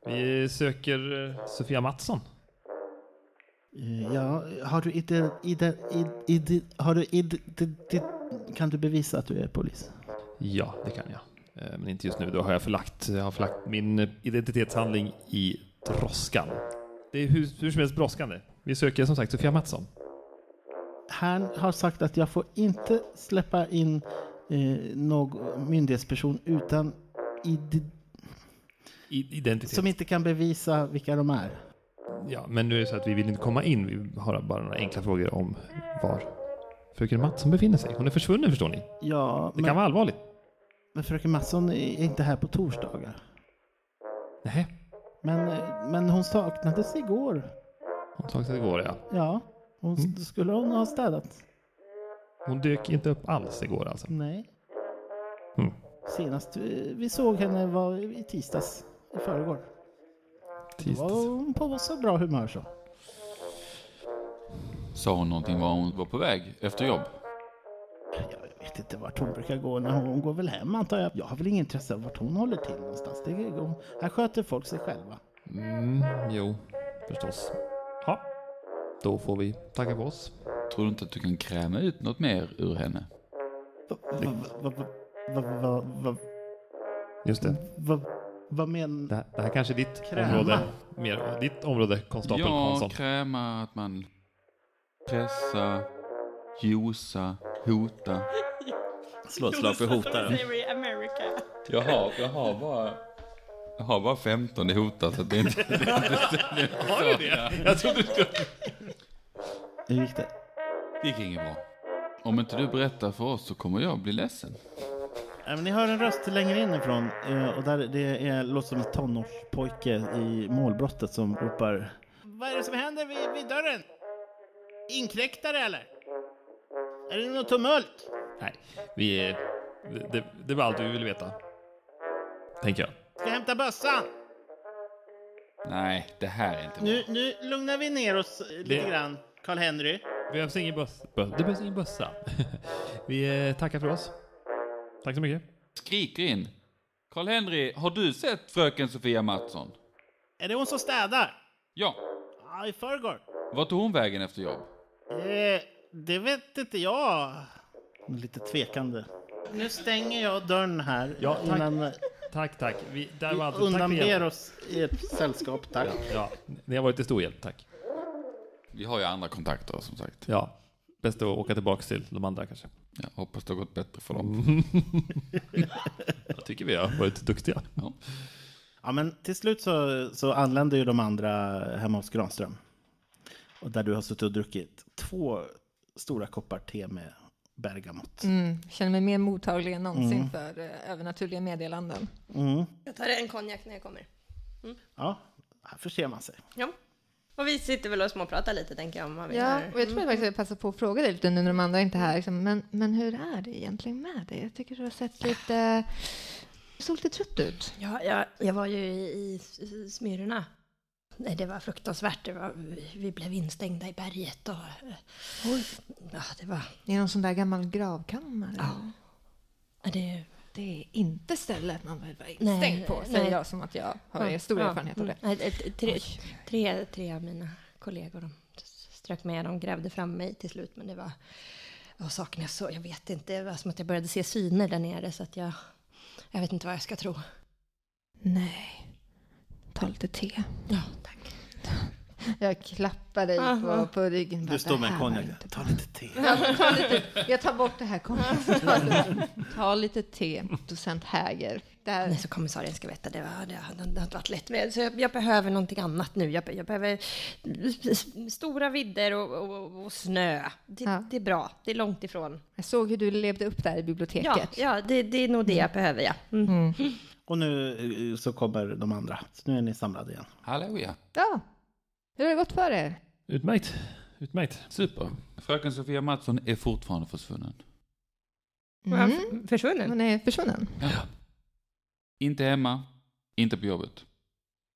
[SPEAKER 6] Vi söker eh, Sofia Mattsson.
[SPEAKER 3] Eh, Ja, har du ide, ide, ide, ide, har du ide, ide, ide, kan du bevisa att du är polis?
[SPEAKER 6] Ja, det kan jag. Eh, Men inte just nu, då har jag förlagt, jag har förlagt min eh, identitetshandling i droskan. Det är hur, hur som helst brådskande. Vi söker som sagt Sofia Mattsson.
[SPEAKER 3] Han har sagt att jag får inte släppa in eh, någon myndighetsperson utan ide,
[SPEAKER 6] I, identitet.
[SPEAKER 3] som inte kan bevisa vilka de är.
[SPEAKER 6] Ja, men nu är det så att vi vill inte komma in. Vi har bara några enkla frågor om var fröken Mattsson befinner sig. Hon är försvunnen förstår ni. Det
[SPEAKER 3] Ja,
[SPEAKER 6] kan
[SPEAKER 3] men,
[SPEAKER 6] vara allvarligt.
[SPEAKER 3] men fröken Mattsson är inte här på torsdagar.
[SPEAKER 6] Nej,
[SPEAKER 3] Men, eh, men hon saknades igår.
[SPEAKER 6] hon saknades igår ja.
[SPEAKER 3] Ja, hon,
[SPEAKER 6] Mm.
[SPEAKER 3] skulle hon ha städat?
[SPEAKER 6] Hon dök inte upp alls igår alltså.
[SPEAKER 3] Nej.
[SPEAKER 6] Mm.
[SPEAKER 3] Senast eh, vi såg henne var i tisdags, i förrgår. Då
[SPEAKER 6] Tisdags.
[SPEAKER 3] var hon på så bra humör så.
[SPEAKER 4] Sa hon någonting var hon var på väg efter jobb?
[SPEAKER 3] Jag vet inte vart hon brukar gå. När hon, hon går väl hem antar jag. Jag har väl ingen intresse av vart hon håller till någonstans. Det är, hon, här sköter folk sig själva.
[SPEAKER 6] Mm, jo, förstås. Ja, då får vi tacka för oss.
[SPEAKER 4] Tror du inte att du kan kräma ut något mer ur henne?
[SPEAKER 3] Va- va- va- va- va- va- va-
[SPEAKER 6] Just det.
[SPEAKER 3] va- Vad menar
[SPEAKER 6] Det här, det här kanske är ditt
[SPEAKER 3] Kräma.
[SPEAKER 6] område. Mer, ditt område, konstapel
[SPEAKER 4] Ja,
[SPEAKER 6] Hansson.
[SPEAKER 4] kräma, att man pressa, josa, hota.
[SPEAKER 3] Slå
[SPEAKER 2] America.
[SPEAKER 4] Jag har, jag har bara... Jag har bara 15 i hota, så att det är inte...
[SPEAKER 6] Har du det? Jag trodde du skulle...
[SPEAKER 3] Hur gick det?
[SPEAKER 4] Det gick inget bra. Om inte du berättar för oss så kommer jag bli ledsen.
[SPEAKER 3] Nej, men ni hör en röst längre inifrån eh, och där det är, låter som en tonårspojke i målbrottet som ropar Vad är det som händer vid, vid dörren? Inkräktare eller? Är det något tumult?
[SPEAKER 6] Nej, vi... eh, Det, det, det var allt vi ville veta. Tänker jag.
[SPEAKER 3] Ska jag hämta bössan?
[SPEAKER 4] Nej, det här är inte bra.
[SPEAKER 3] Nu, nu lugnar vi ner oss eh, lite
[SPEAKER 6] Det-
[SPEAKER 3] grann, Karl-Henry.
[SPEAKER 6] Det behövs ingen bössa. Det behövs ingen bössa. vi eh, tackar för oss. Tack så mycket.
[SPEAKER 4] Skriker in. Karl-Henry, har du sett fröken Sofia Mattsson?
[SPEAKER 3] Är det hon som städar?
[SPEAKER 4] Ja.
[SPEAKER 3] Ja, i förrgår.
[SPEAKER 4] Vart tog hon vägen efter jobb?
[SPEAKER 3] Eh, det vet inte jag. Lite tvekande. Nu stänger jag dörren här
[SPEAKER 6] Ja, tack.
[SPEAKER 3] innan
[SPEAKER 6] Tack, tatack. Vi, där var
[SPEAKER 3] vi
[SPEAKER 6] allt. Tack för
[SPEAKER 3] undanber
[SPEAKER 6] hjälpen.
[SPEAKER 3] oss i ett sällskap, tack.
[SPEAKER 6] Ja, ni har varit till stor hjälp. Tack.
[SPEAKER 4] Vi har ju andra kontakter som sagt.
[SPEAKER 6] Ja, bäst att åka tillbaka till de andra kanske.
[SPEAKER 4] Jag hoppas det har gått bättre för dem.
[SPEAKER 6] Jag tycker vi har varit duktiga.
[SPEAKER 4] Ja.
[SPEAKER 3] Ja, men till slut så, så anländer ju de andra hemma hos Granström. Och där du har suttit och druckit två stora koppar te med bergamott.
[SPEAKER 5] Mm, känner mig mer mottaglig än någonsin för eh, övernaturliga meddelanden.
[SPEAKER 2] Jag tar en konjak när jag kommer.
[SPEAKER 3] Ja, här förser man sig.
[SPEAKER 2] Ja. Och vi sitter väl och småpratar lite tänker jag om vad vi
[SPEAKER 5] Ja,
[SPEAKER 2] har.
[SPEAKER 5] och jag tror jag faktiskt jag passar på att fråga dig lite nu när de andra inte är här. Liksom, men, men hur är det egentligen med dig? Jag tycker du har sett lite... Du såg lite trött ut.
[SPEAKER 2] Ja, jag, jag var ju i, i, i Smyrna. Nej, det var fruktansvärt. Det var, vi blev instängda i berget och... Oj. Ja, det var...
[SPEAKER 5] I någon sån där gammal gravkammare.
[SPEAKER 2] ja, Det,
[SPEAKER 5] Det är inte stället man vill vara
[SPEAKER 2] Nej,
[SPEAKER 5] instängd på, säger
[SPEAKER 2] nej.
[SPEAKER 5] jag som att jag har stor erfarenhet av det.
[SPEAKER 2] Nej, eh, tre,
[SPEAKER 5] Oj.
[SPEAKER 2] tre, tre av mina kollegor de strök med, de grävde fram mig till slut. Men det var... Jag saknade så, jag vet inte. Det var som att jag började se syner där nere så att jag... Jag vet inte vad jag ska tro.
[SPEAKER 5] Mm. Nej. Ta lite te.
[SPEAKER 2] Ja, tack.
[SPEAKER 5] Jag klappar dig
[SPEAKER 2] Aha.
[SPEAKER 5] på, på ryggen. Bara,
[SPEAKER 3] Du står med
[SPEAKER 5] "Det
[SPEAKER 3] en
[SPEAKER 5] här var
[SPEAKER 3] konjak.
[SPEAKER 5] inte
[SPEAKER 3] Ta
[SPEAKER 5] bra."
[SPEAKER 3] lite te.
[SPEAKER 5] Ta lite- Jag tar bort det här konjaken. Ta lite te, docent Häger. Det här,
[SPEAKER 2] Nej, så kommissarien ska veta, det, var, det, har- det har inte varit lätt. Men, så jag, jag behöver någonting annat nu. Jag, be- jag behöver stora vidder och, och, och snö. Det,
[SPEAKER 5] Ja.
[SPEAKER 2] det är bra, det är långt ifrån.
[SPEAKER 5] jag såg hur du levde upp där i
[SPEAKER 2] Ja,
[SPEAKER 5] biblioteket.
[SPEAKER 2] ja det, det är nog det jag behöver, ja. Mm.
[SPEAKER 3] Och nu eh, så kommer de andra. Så nu är ni samlade igen.
[SPEAKER 4] Hallå ja.
[SPEAKER 5] Ja. Hur har det gått för er?
[SPEAKER 6] Utmärkt. Utmärkt.
[SPEAKER 4] Super. Fröken Sofia Mattsson är fortfarande försvunnen.
[SPEAKER 5] Mm.
[SPEAKER 2] Försvunnen?
[SPEAKER 5] Hon är försvunnen.
[SPEAKER 4] Inte hemma, inte på jobbet.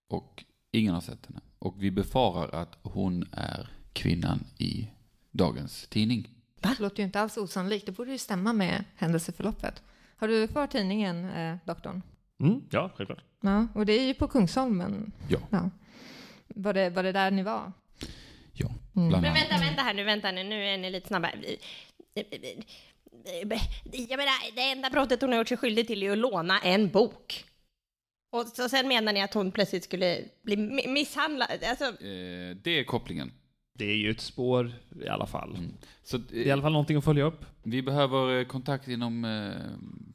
[SPEAKER 4] Och ingen har sett henne. Och vi befarar att hon är kvinnan i dagens tidning.
[SPEAKER 5] Det låter ju inte alls osannolikt. Det borde ju stämma med händelseförloppet. Har du kvar tidningen, eh, doktorn?
[SPEAKER 6] Mm, ja, självklart.
[SPEAKER 5] Ja, och det är ju på Kungsholmen.
[SPEAKER 4] Ja.
[SPEAKER 5] Var, det, var det där ni var?
[SPEAKER 4] Ja, bland
[SPEAKER 5] Mm.
[SPEAKER 2] Men
[SPEAKER 4] annat.
[SPEAKER 2] vänta, vänta här nu, vänta nu, nu är ni lite snabbare. Jag menar, det enda brottet hon har gjort sig skyldig till är ju att låna en bok. Och så sen menar ni att hon plötsligt skulle bli mi- misshandlad, alltså
[SPEAKER 4] Eh, det är kopplingen.
[SPEAKER 6] Det är ju ett spår i alla fall.
[SPEAKER 4] Så eh,
[SPEAKER 6] Det är i alla fall någonting att följa upp.
[SPEAKER 4] vi behöver eh, kontakt inom eh,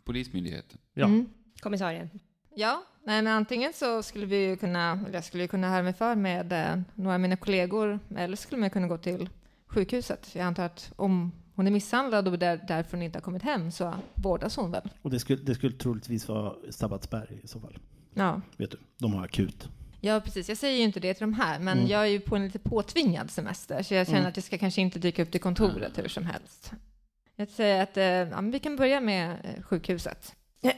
[SPEAKER 4] polismyndigheten.
[SPEAKER 6] Ja.
[SPEAKER 5] Mm.
[SPEAKER 2] kommissarien.
[SPEAKER 5] Ja, nej, men antingen så skulle vi ju kunna, eller jag skulle ju kunna höra mig för med eh, några av mina kollegor, eller så skulle man kunna gå till sjukhuset. Jag antar att om hon är misshandlad och där, därför hon inte har kommit hem så vårdas hon väl?
[SPEAKER 3] Och det skulle, det skulle troligtvis vara Sabbatsberg i så fall.
[SPEAKER 5] Ja.
[SPEAKER 3] Vet du, de har akut.
[SPEAKER 2] Eh,
[SPEAKER 5] ja, precis. Jag säger ju inte det till de här, men jag är ju på en lite påtvingad semester, så jag känner att jag ska kanske inte dyka upp till kontoret hur som helst. Jag säger att eh, ja, men vi kan börja med eh, sjukhuset.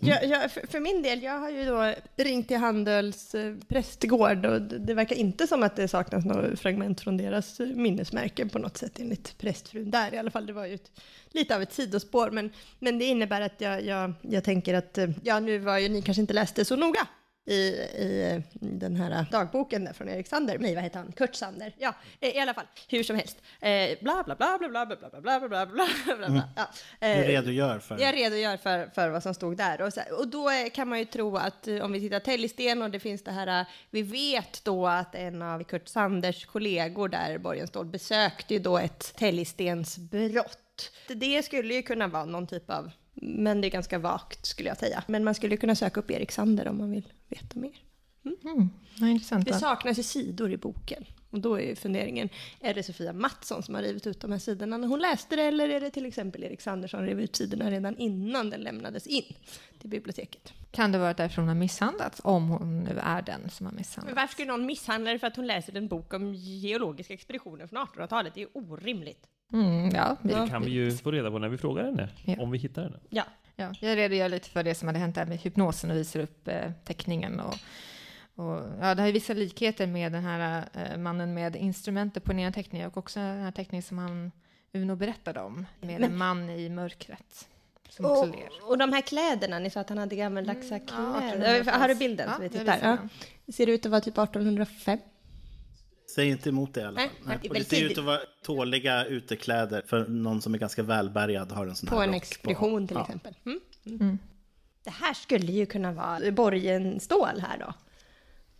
[SPEAKER 2] Jag, jag, eh, för, för min del, jag har ju då ringt till Handels eh, prästgård och det, det verkar inte som att det saknas några fragment från deras eh, minnesmärken på något sätt enligt prästfrun där i alla fall. Det var ju ett, lite av ett sidospår, men, men det innebär att jag, jag, jag tänker att, eh, ja nu var ju ni kanske inte läste så noga i, i eh, den här dagboken där från Erik Sander, nej vad heter han, Kurt Sander, ja eh, i alla fall, hur som helst, eh, bla bla bla bla bla bla bla bla bla bla bla bla bla, ja.
[SPEAKER 3] Du
[SPEAKER 2] eh,
[SPEAKER 3] redogör för...
[SPEAKER 2] jag redogör för, för vad som stod där. Och, så, och då eh, kan man ju tro att eh, om vi tittar Täljsten och det finns det här, eh, vi vet då att en av Kurt Sanders kollegor där, Borgenstål, besökte ju då ett Täljstensbrott. Det skulle ju kunna vara någon typ av, men det är ganska vagt skulle jag säga. Men man skulle kunna söka upp Erik Sander om man vill veta mer.
[SPEAKER 5] Ja, intressant.
[SPEAKER 2] Det
[SPEAKER 5] va?
[SPEAKER 2] saknas ju sidor i boken. Och då är ju funderingen, är det Sofia Mattsson som har rivit ut de här sidorna när hon läste det, eller är det till exempel Erik Sander som rev ut sidorna redan innan den lämnades in till biblioteket?
[SPEAKER 5] Kan det vara därför hon har misshandlats, om hon nu är den som har
[SPEAKER 2] Men
[SPEAKER 5] misshandlats?
[SPEAKER 2] varför skulle någon misshandla det för att hon läser en bok om geologiska expeditioner från 1800-talet? Det är ju orimligt.
[SPEAKER 5] Mm, ja, vi,
[SPEAKER 6] Det kan vi ju få reda på när vi frågar henne.
[SPEAKER 5] Ja.
[SPEAKER 6] Om vi hittar henne.
[SPEAKER 2] Ja.
[SPEAKER 5] ja, jag redogör lite för det som hade hänt där med hypnosen och visar upp eh, teckningen. Och, och, ja, det har ju vissa likheter med den här eh, mannen med instrumentet på den ena teckningen och också den här teckningen som han Uno berättade om, med en man i mörkret som också
[SPEAKER 2] Och,
[SPEAKER 5] ler.
[SPEAKER 2] och de här kläderna, ni sa att han hade
[SPEAKER 5] Mm,
[SPEAKER 2] gammaldags kläder.
[SPEAKER 5] 1800-tals.
[SPEAKER 2] har du bilden? så vi
[SPEAKER 5] jag
[SPEAKER 2] tittar?
[SPEAKER 5] visar
[SPEAKER 2] Ja.
[SPEAKER 5] den.
[SPEAKER 2] Ser det ut att vara typ 1805?
[SPEAKER 3] Säg inte emot det i alla fall.
[SPEAKER 2] Nej, det är
[SPEAKER 3] Och
[SPEAKER 2] väl
[SPEAKER 3] det ser
[SPEAKER 2] tidigt.
[SPEAKER 3] ut att vara tåliga utekläder för någon som är ganska välbärgad har en sån
[SPEAKER 2] På
[SPEAKER 3] här
[SPEAKER 2] en
[SPEAKER 3] rock
[SPEAKER 2] expedition till
[SPEAKER 3] Ja.
[SPEAKER 2] exempel. Mm. Mm. Det här skulle ju kunna vara Borgenstål här då,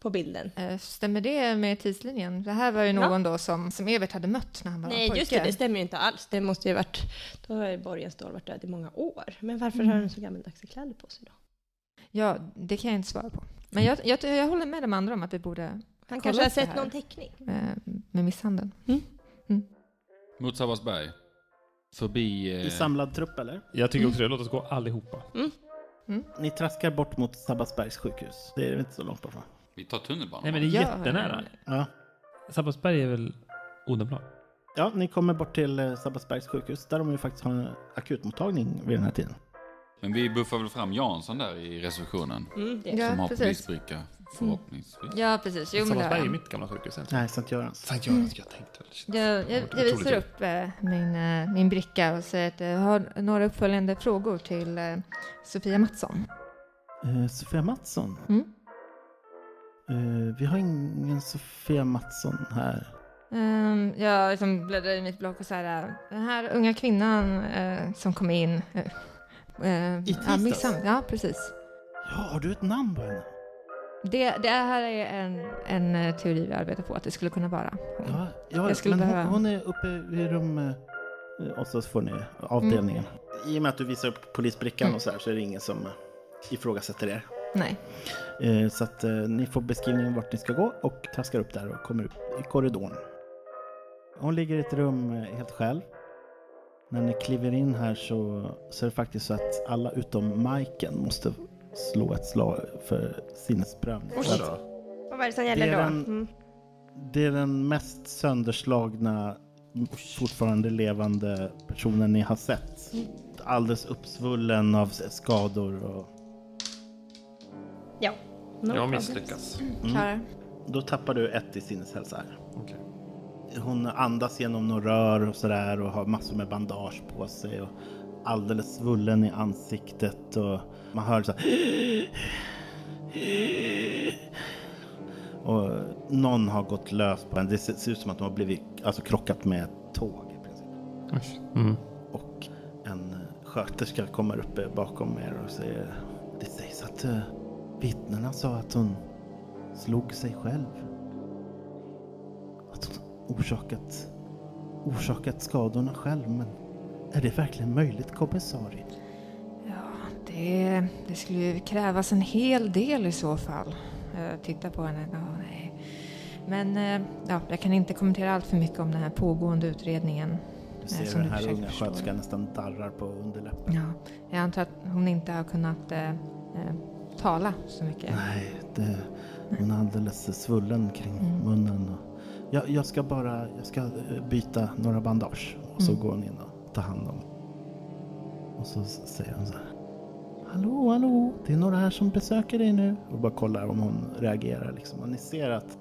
[SPEAKER 2] på bilden.
[SPEAKER 5] Eh, Stämmer det med tidslinjen? Det här var ju någon då som, som Evert hade mött när han var
[SPEAKER 2] Nej,
[SPEAKER 5] pojke.
[SPEAKER 2] just det, det stämmer ju inte alls. Det måste ju varit, då har ju Borgenstål varit död i många år. Men varför har den så gammaldags kläder på sig då?
[SPEAKER 5] Ja, det kan jag inte svara på. Men jag, jag, jag håller med de andra om att vi borde
[SPEAKER 2] Han
[SPEAKER 5] Kolla
[SPEAKER 2] kanske har
[SPEAKER 5] upp det
[SPEAKER 2] sett
[SPEAKER 5] här.
[SPEAKER 2] någon teckning.
[SPEAKER 5] eh, med misshandeln.
[SPEAKER 4] Mot Sabbatsberg. Förbi...
[SPEAKER 3] I
[SPEAKER 4] Eh,
[SPEAKER 3] samlad trupp eller?
[SPEAKER 6] Jag tycker också det. Låt oss gå allihopa.
[SPEAKER 3] Ni traskar bort mot Sabbatsbergs sjukhus. Det är väl inte så långt bort va?
[SPEAKER 4] vi tar tunnelbanan.
[SPEAKER 6] Nej men det är
[SPEAKER 5] Ja.
[SPEAKER 6] jättenära.
[SPEAKER 3] Ja.
[SPEAKER 6] Sabbatsberg är väl Odenplan?
[SPEAKER 3] ja, ni kommer bort till eh, Sabbatsbergs sjukhus där de ju faktiskt har en akutmottagning vid den här tiden.
[SPEAKER 4] Men vi buffar väl fram Jansson där i receptionen.
[SPEAKER 2] Mm, det.
[SPEAKER 5] Ja,
[SPEAKER 4] som har
[SPEAKER 5] precis. Mm.
[SPEAKER 4] polisbricka, förhoppningsvis.
[SPEAKER 5] Ja, precis. Jo, men det Mm.
[SPEAKER 6] Sabbatsberg är
[SPEAKER 5] har jag.
[SPEAKER 6] mitt gamla sjukhus. Sankt
[SPEAKER 3] Nej, Sankt Görans.
[SPEAKER 6] Görans, jag tänkte väl. shit.
[SPEAKER 5] Jag, jag, jag visar
[SPEAKER 6] Otroligt.
[SPEAKER 5] upp eh, min, eh, min bricka och säger att jag har några uppföljande frågor till eh, Sofia Mattsson.
[SPEAKER 3] Eh, Sofia Mattsson?
[SPEAKER 5] Mm.
[SPEAKER 3] Eh, vi har ingen Sofia Mattsson här.
[SPEAKER 5] Ehm, jag liksom bläddrar i mitt block och så här, eh, den här unga kvinnan eh, som kom in. eh, Eh, I ja,
[SPEAKER 3] tisdags?
[SPEAKER 5] misshandel. ja, precis.
[SPEAKER 3] Ja, har du ett namn på henne?
[SPEAKER 5] Det, det här är en, en eh, teori vi arbetar på, att det skulle kunna vara.
[SPEAKER 3] Ja, ja
[SPEAKER 5] Jag skulle
[SPEAKER 3] men hon,
[SPEAKER 5] behöva- Mm.
[SPEAKER 3] hon är uppe i rum... eh, Och så får ni avdelningen. I och med att du visar upp polisbrickan och så här så är det ingen som eh, ifrågasätter er.
[SPEAKER 5] Nej.
[SPEAKER 3] Eh, Så att eh, ni får beskrivningen vart ni ska gå och traskar upp där och kommer upp i korridoren. Hon ligger i ett rum eh, helt själv. När ni kliver in här så, så är det faktiskt så att alla utom Majken måste slå ett slag för sinnesprövning.
[SPEAKER 2] Oj.
[SPEAKER 3] Så att
[SPEAKER 2] Vad var det som gäller
[SPEAKER 3] Det är
[SPEAKER 2] då?
[SPEAKER 3] den-
[SPEAKER 2] Mm.
[SPEAKER 3] Det är den mest sönderslagna, fortfarande levande personen ni har sett. Alldeles uppsvullen av skador och
[SPEAKER 2] Ja. No
[SPEAKER 6] Jag
[SPEAKER 2] problem.
[SPEAKER 6] misslyckas.
[SPEAKER 5] Klarar.
[SPEAKER 3] Då tappar du ett i sinneshälsa. här.
[SPEAKER 6] Okej.
[SPEAKER 3] hon andas genom några rör och sådär och har massor med bandage på sig och alldeles svullen i ansiktet och man hör så här och någon har gått lös på henne. Det ser- ser ut som att de har blivit alltså, krockat med ett tåg i princip.
[SPEAKER 6] Mm.
[SPEAKER 3] Och en eh, sköterska kommer upp bakom er och säger Det sägs att uh, vittnena sa att hon slog sig själv. Att hon orsakat, orsakat skadorna själv. Men är det verkligen möjligt kommissarie?
[SPEAKER 5] Ja, det, det skulle ju krävas en hel del i så fall. Eh, Titta på henne. Ja, nej. Men eh, ja, jag kan inte kommentera allt för mycket om den här pågående utredningen.
[SPEAKER 3] Du ser
[SPEAKER 5] Nej, som
[SPEAKER 3] hur den
[SPEAKER 5] du
[SPEAKER 3] här
[SPEAKER 5] försöker
[SPEAKER 3] unga
[SPEAKER 5] förstå.
[SPEAKER 3] sköterskan nästan darrar på underläppen.
[SPEAKER 5] Ja, jag antar att hon inte har kunnat eh, eh, tala så mycket.
[SPEAKER 3] Nej, det, hon är alldeles svullen kring munnen. Och jag, jag ska bara jag ska eh, byta några bandage och så går hon in och tar hand om. Och så s- säger hon så här. Hallå, hallå, det är några här som besöker dig nu. Och bara kollar om hon reagerar liksom. Och ni ser att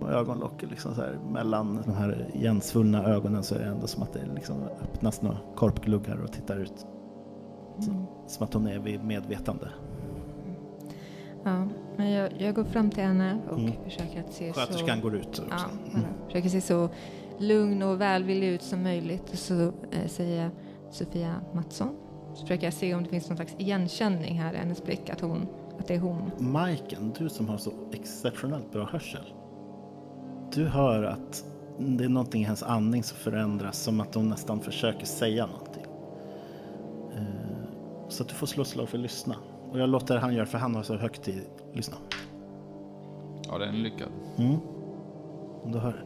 [SPEAKER 3] på ögonlocket liksom så här mellan de här igensvullna ögonen så är det ändå som att det liksom öppnas några korpgluggar och tittar ut.
[SPEAKER 5] Mm.
[SPEAKER 3] Som att hon är vid medvetande.
[SPEAKER 5] Ja, men jag, jag går fram till henne och
[SPEAKER 3] Mm.
[SPEAKER 5] försöker att se så...
[SPEAKER 3] Sköterskan går ut också.
[SPEAKER 5] Ja, Mm. bara försöker se så lugn och välvillig ut som möjligt. Och så eh, säger jag Sofia Mattsson. Så försöker jag se om det finns någon slags igenkänning här i hennes blick, att, hon, att det är hon.
[SPEAKER 3] Majken, du som har så exceptionellt bra hörsel. Du hör att det är någonting i hennes andning som förändras, som att hon nästan försöker säga någonting. Eh, Så att du får slå slag för att lyssna. Och jag låter han göra, för han har så högt i lyssna.
[SPEAKER 4] Ja, den är lyckad.
[SPEAKER 3] Mm. Och Du hör,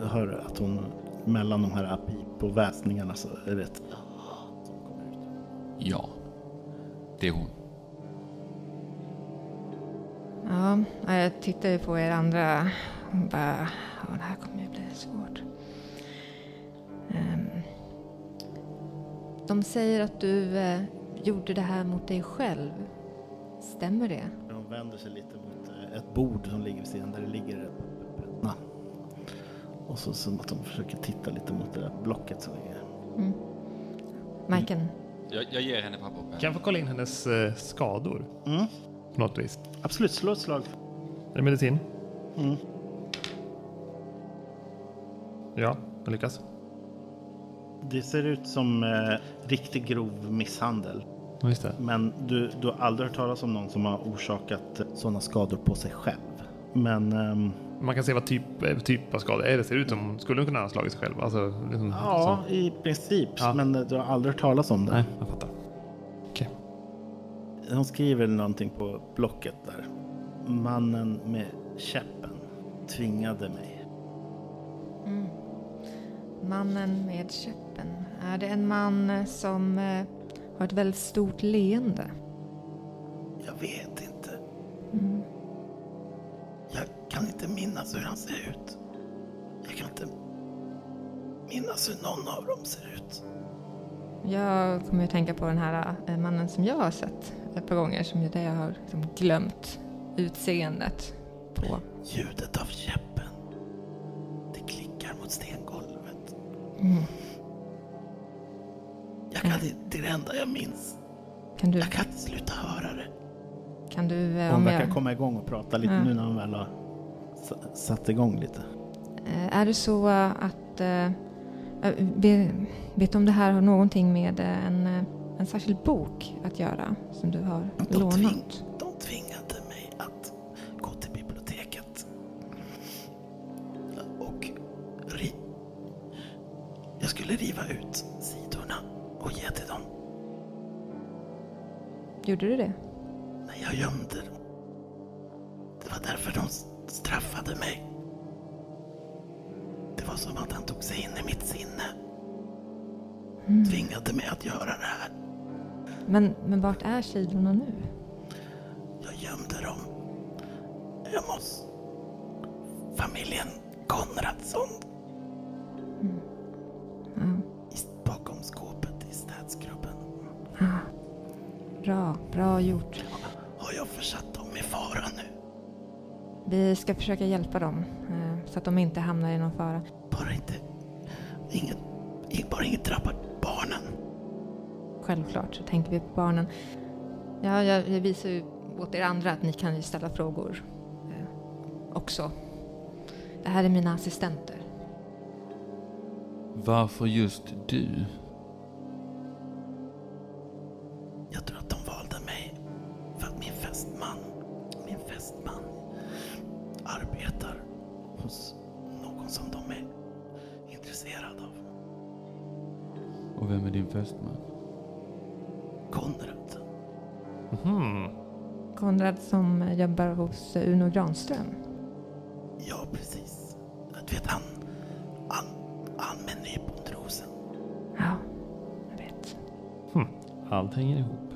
[SPEAKER 3] du hör att hon mellan de här pip och väsningarna så är det ett
[SPEAKER 4] Ja, det är hon.
[SPEAKER 5] Ja, ja, jag tittar ju på er andra och bara, ja, det här kommer ju bli svårt. Ehm, de säger att du eh, gjorde det här mot dig själv. Stämmer det?
[SPEAKER 3] Hon vänder sig lite mot eh, ett bord som ligger vid sidan där det ligger en penna. Och så som att hon försöker titta lite mot det där blocket som ligger.
[SPEAKER 5] Majken?
[SPEAKER 4] Jag, jag ger henne papper och penna.
[SPEAKER 6] Kan jag få kolla in hennes eh, skador?
[SPEAKER 3] Mm.
[SPEAKER 6] På något vis.
[SPEAKER 3] Absolut, slå ett slag.
[SPEAKER 6] Är det medicin?
[SPEAKER 3] Mm.
[SPEAKER 6] Ja, jag lyckas.
[SPEAKER 3] Det ser ut som eh, riktigt grov misshandel.
[SPEAKER 6] Ja, Just det.
[SPEAKER 3] Men du, du har aldrig hört talas om någon som har orsakat sådana skador på sig själv. Men ehm,
[SPEAKER 6] Man kan se vad typ, eh, typ av skada är. Det ser ut som hon skulle kunna ha slagit sig själv. Alltså, liksom,
[SPEAKER 3] ja, i princip.
[SPEAKER 6] Ja.
[SPEAKER 3] Men eh, du har aldrig hört talas om det.
[SPEAKER 6] så. Nej, jag fattar. Okej.
[SPEAKER 3] Hon skriver någonting på blocket där. Mannen med käppen tvingade mig.
[SPEAKER 5] Mm. Mannen med käppen. Är det en man eh, som eh, har ett väldigt stort leende?
[SPEAKER 3] Jag vet inte.
[SPEAKER 5] Mm.
[SPEAKER 3] Jag kan inte minnas hur han ser ut. Jag kan inte minnas hur någon av dem ser ut.
[SPEAKER 5] Jag kommer ju tänka på den här eh, mannen som jag har sett ett par gånger som ju det jag har liksom glömt utseendet på.
[SPEAKER 3] Ljudet av käppen. Det klickar mot stengolvet.
[SPEAKER 5] Mm.
[SPEAKER 3] Jag kan, inte- det är det enda jag minns.
[SPEAKER 5] Kan du,
[SPEAKER 3] Jag kan inte sluta höra det.
[SPEAKER 5] kan du eh,
[SPEAKER 3] Hon
[SPEAKER 5] om
[SPEAKER 3] verkar
[SPEAKER 5] jag,
[SPEAKER 3] komma igång och prata lite
[SPEAKER 5] Ja.
[SPEAKER 3] nu när hon väl har s- satt igång lite.
[SPEAKER 5] eh, är det så eh, att, eh, eh, vet, vet du om det här har någonting med eh, en, eh, en särskild bok att göra som du har
[SPEAKER 3] De
[SPEAKER 5] lånat?
[SPEAKER 3] De tvingade mig att gå till biblioteket. Och ri... Jag skulle riva ut sidorna och ge till dem.
[SPEAKER 5] Gjorde du det?
[SPEAKER 3] Men jag gömde dem. Det var därför de s- straffade mig. Det var som att han tog sig in i mitt sinne. Tvingade mig att göra det här.
[SPEAKER 5] Men, men vart är sidorna nu?
[SPEAKER 3] Jag gömde dem hemma hos familjen Konradsson. I- Bakom skåpet i städskrubben
[SPEAKER 5] Bra, bra gjort.
[SPEAKER 3] har jag försatt dem i fara nu.
[SPEAKER 5] Vi ska försöka hjälpa dem eh, så att de inte hamnar i någon fara.
[SPEAKER 1] Bara inte... Inget, inget, bara inget drabbar barnen.
[SPEAKER 5] Självklart så tänker vi på barnen. Ja, jag, jag visar ju åt er andra att ni kan ju ställa frågor eh, också. Det här är mina assistenter.
[SPEAKER 4] Varför just du?
[SPEAKER 1] Jag tror att de valde mig för att min fästman, min fästman arbetar hos någon som de är intresserade av.
[SPEAKER 4] Och vem är din fästman?
[SPEAKER 1] Konrad.
[SPEAKER 5] Konrad som eh, jobbar hos eh, Uno Granström.
[SPEAKER 1] Ja, precis. Du vet han, han, han med nypontrosen.
[SPEAKER 5] Ja, jag vet.
[SPEAKER 6] Allt hänger ihop.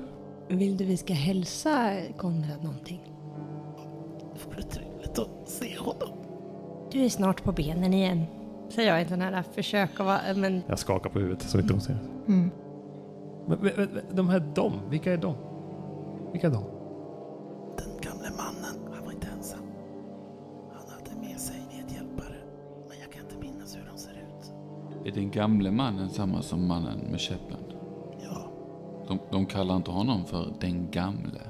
[SPEAKER 2] Vill du vi ska hälsa Konrad någonting?
[SPEAKER 1] Det vore trevligt att se honom.
[SPEAKER 2] Du är snart på benen igen. Säger jag i sån här försök att vara, men
[SPEAKER 6] Jag skakar på huvudet så inte hon ser. det.
[SPEAKER 5] Mm.
[SPEAKER 6] Men, men, men, de här dom, vilka är de? Vilka är de?
[SPEAKER 1] Den gamle mannen, han var inte ensam. Han hade med sig medhjälpare. Men jag kan inte minnas hur de ser ut.
[SPEAKER 4] Är den gamle mannen samma som mannen med käppen?
[SPEAKER 1] Ja,
[SPEAKER 4] De, de kallar inte honom för den gamle.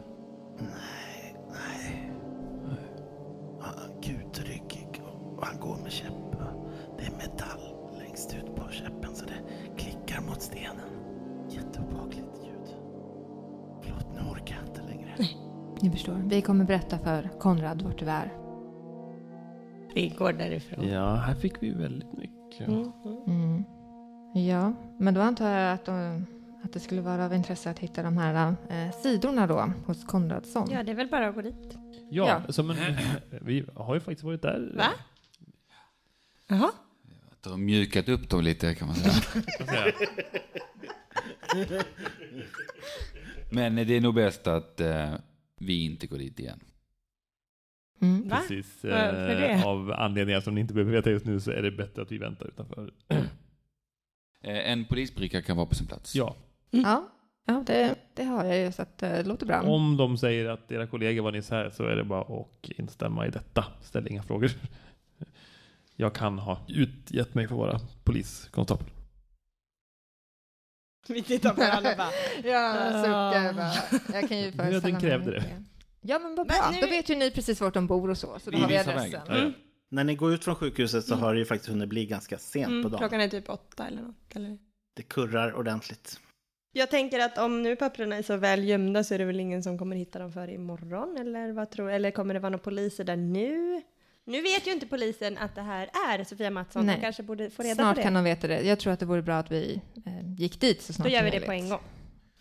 [SPEAKER 1] han är gudryggig och han går med käpp. Det är metall längst ut på käppen så det klickar mot stenen. Jätteobehagligt ljud. Förlåt, nu orkar jag inte längre.
[SPEAKER 5] Ni förstår. Vi kommer berätta för Konrad vart du är.
[SPEAKER 2] vi går därifrån.
[SPEAKER 6] Ja, här fick vi väldigt mycket.
[SPEAKER 5] Mm. Ja, men då antar jag att, de, att det skulle vara av intresse att hitta de här eh, sidorna då hos Konradsson.
[SPEAKER 2] Ja, det är väl bara att gå dit.
[SPEAKER 6] Ja,
[SPEAKER 5] Ja.
[SPEAKER 6] Så, men, eh, vi har ju faktiskt varit där.
[SPEAKER 2] Va? Jaha.
[SPEAKER 4] Att de har mjukat upp dem lite kan man säga.
[SPEAKER 6] Så att säga.
[SPEAKER 4] Men det är nog bäst att eh, vi inte går dit igen.
[SPEAKER 5] Mm.
[SPEAKER 2] Va?
[SPEAKER 6] Precis.
[SPEAKER 2] Varför det?
[SPEAKER 6] Eh, av anledningar som ni inte behöver veta just nu så är det bättre att vi väntar utanför.
[SPEAKER 4] Eh, en polisbricka kan vara på sin plats.
[SPEAKER 6] Ja,
[SPEAKER 5] Ja, ja det, det har jag ju så att eh, det låter bra.
[SPEAKER 6] om de säger att era kollegor var nyss här så är det bara att instämma i detta. Ställ inga frågor. Jag kan ha utgett mig för våra poliskonstapel.
[SPEAKER 2] Vi tittar på varandra och bara.
[SPEAKER 5] Ja,
[SPEAKER 2] Ah.
[SPEAKER 5] suckar bara. Jag kan ju
[SPEAKER 6] Jag
[SPEAKER 5] föreställa
[SPEAKER 6] den
[SPEAKER 5] mig
[SPEAKER 6] krävde det.
[SPEAKER 5] Ja, men vad
[SPEAKER 2] Men
[SPEAKER 5] bra.
[SPEAKER 2] nu-
[SPEAKER 5] Då vet ju ni precis vart de bor och så, så då
[SPEAKER 4] Vi
[SPEAKER 5] har vi
[SPEAKER 4] visar
[SPEAKER 5] adressen.
[SPEAKER 6] Ja,
[SPEAKER 2] mm.
[SPEAKER 6] ja.
[SPEAKER 3] När ni går ut från sjukhuset så har det ju faktiskt hunnit bli ganska sent på
[SPEAKER 2] Mm,
[SPEAKER 3] dagen.
[SPEAKER 2] klockan är typ åtta eller något. Eller?
[SPEAKER 3] Det kurrar ordentligt.
[SPEAKER 2] Jag tänker att om nu papperna är så väl gömda så är det väl ingen som kommer hitta dem för imorgon eller vad tror Eller kommer det vara några poliser där nu? Nu vet ju inte polisen att det här är Sofia Mattsson.
[SPEAKER 5] Nej.
[SPEAKER 2] De kanske borde få reda
[SPEAKER 5] Snart
[SPEAKER 2] på det.
[SPEAKER 5] kan de veta det. Jag tror att det vore bra att vi eh, gick dit så snart
[SPEAKER 2] Då gör
[SPEAKER 5] som
[SPEAKER 2] vi det
[SPEAKER 5] möjligt.
[SPEAKER 2] på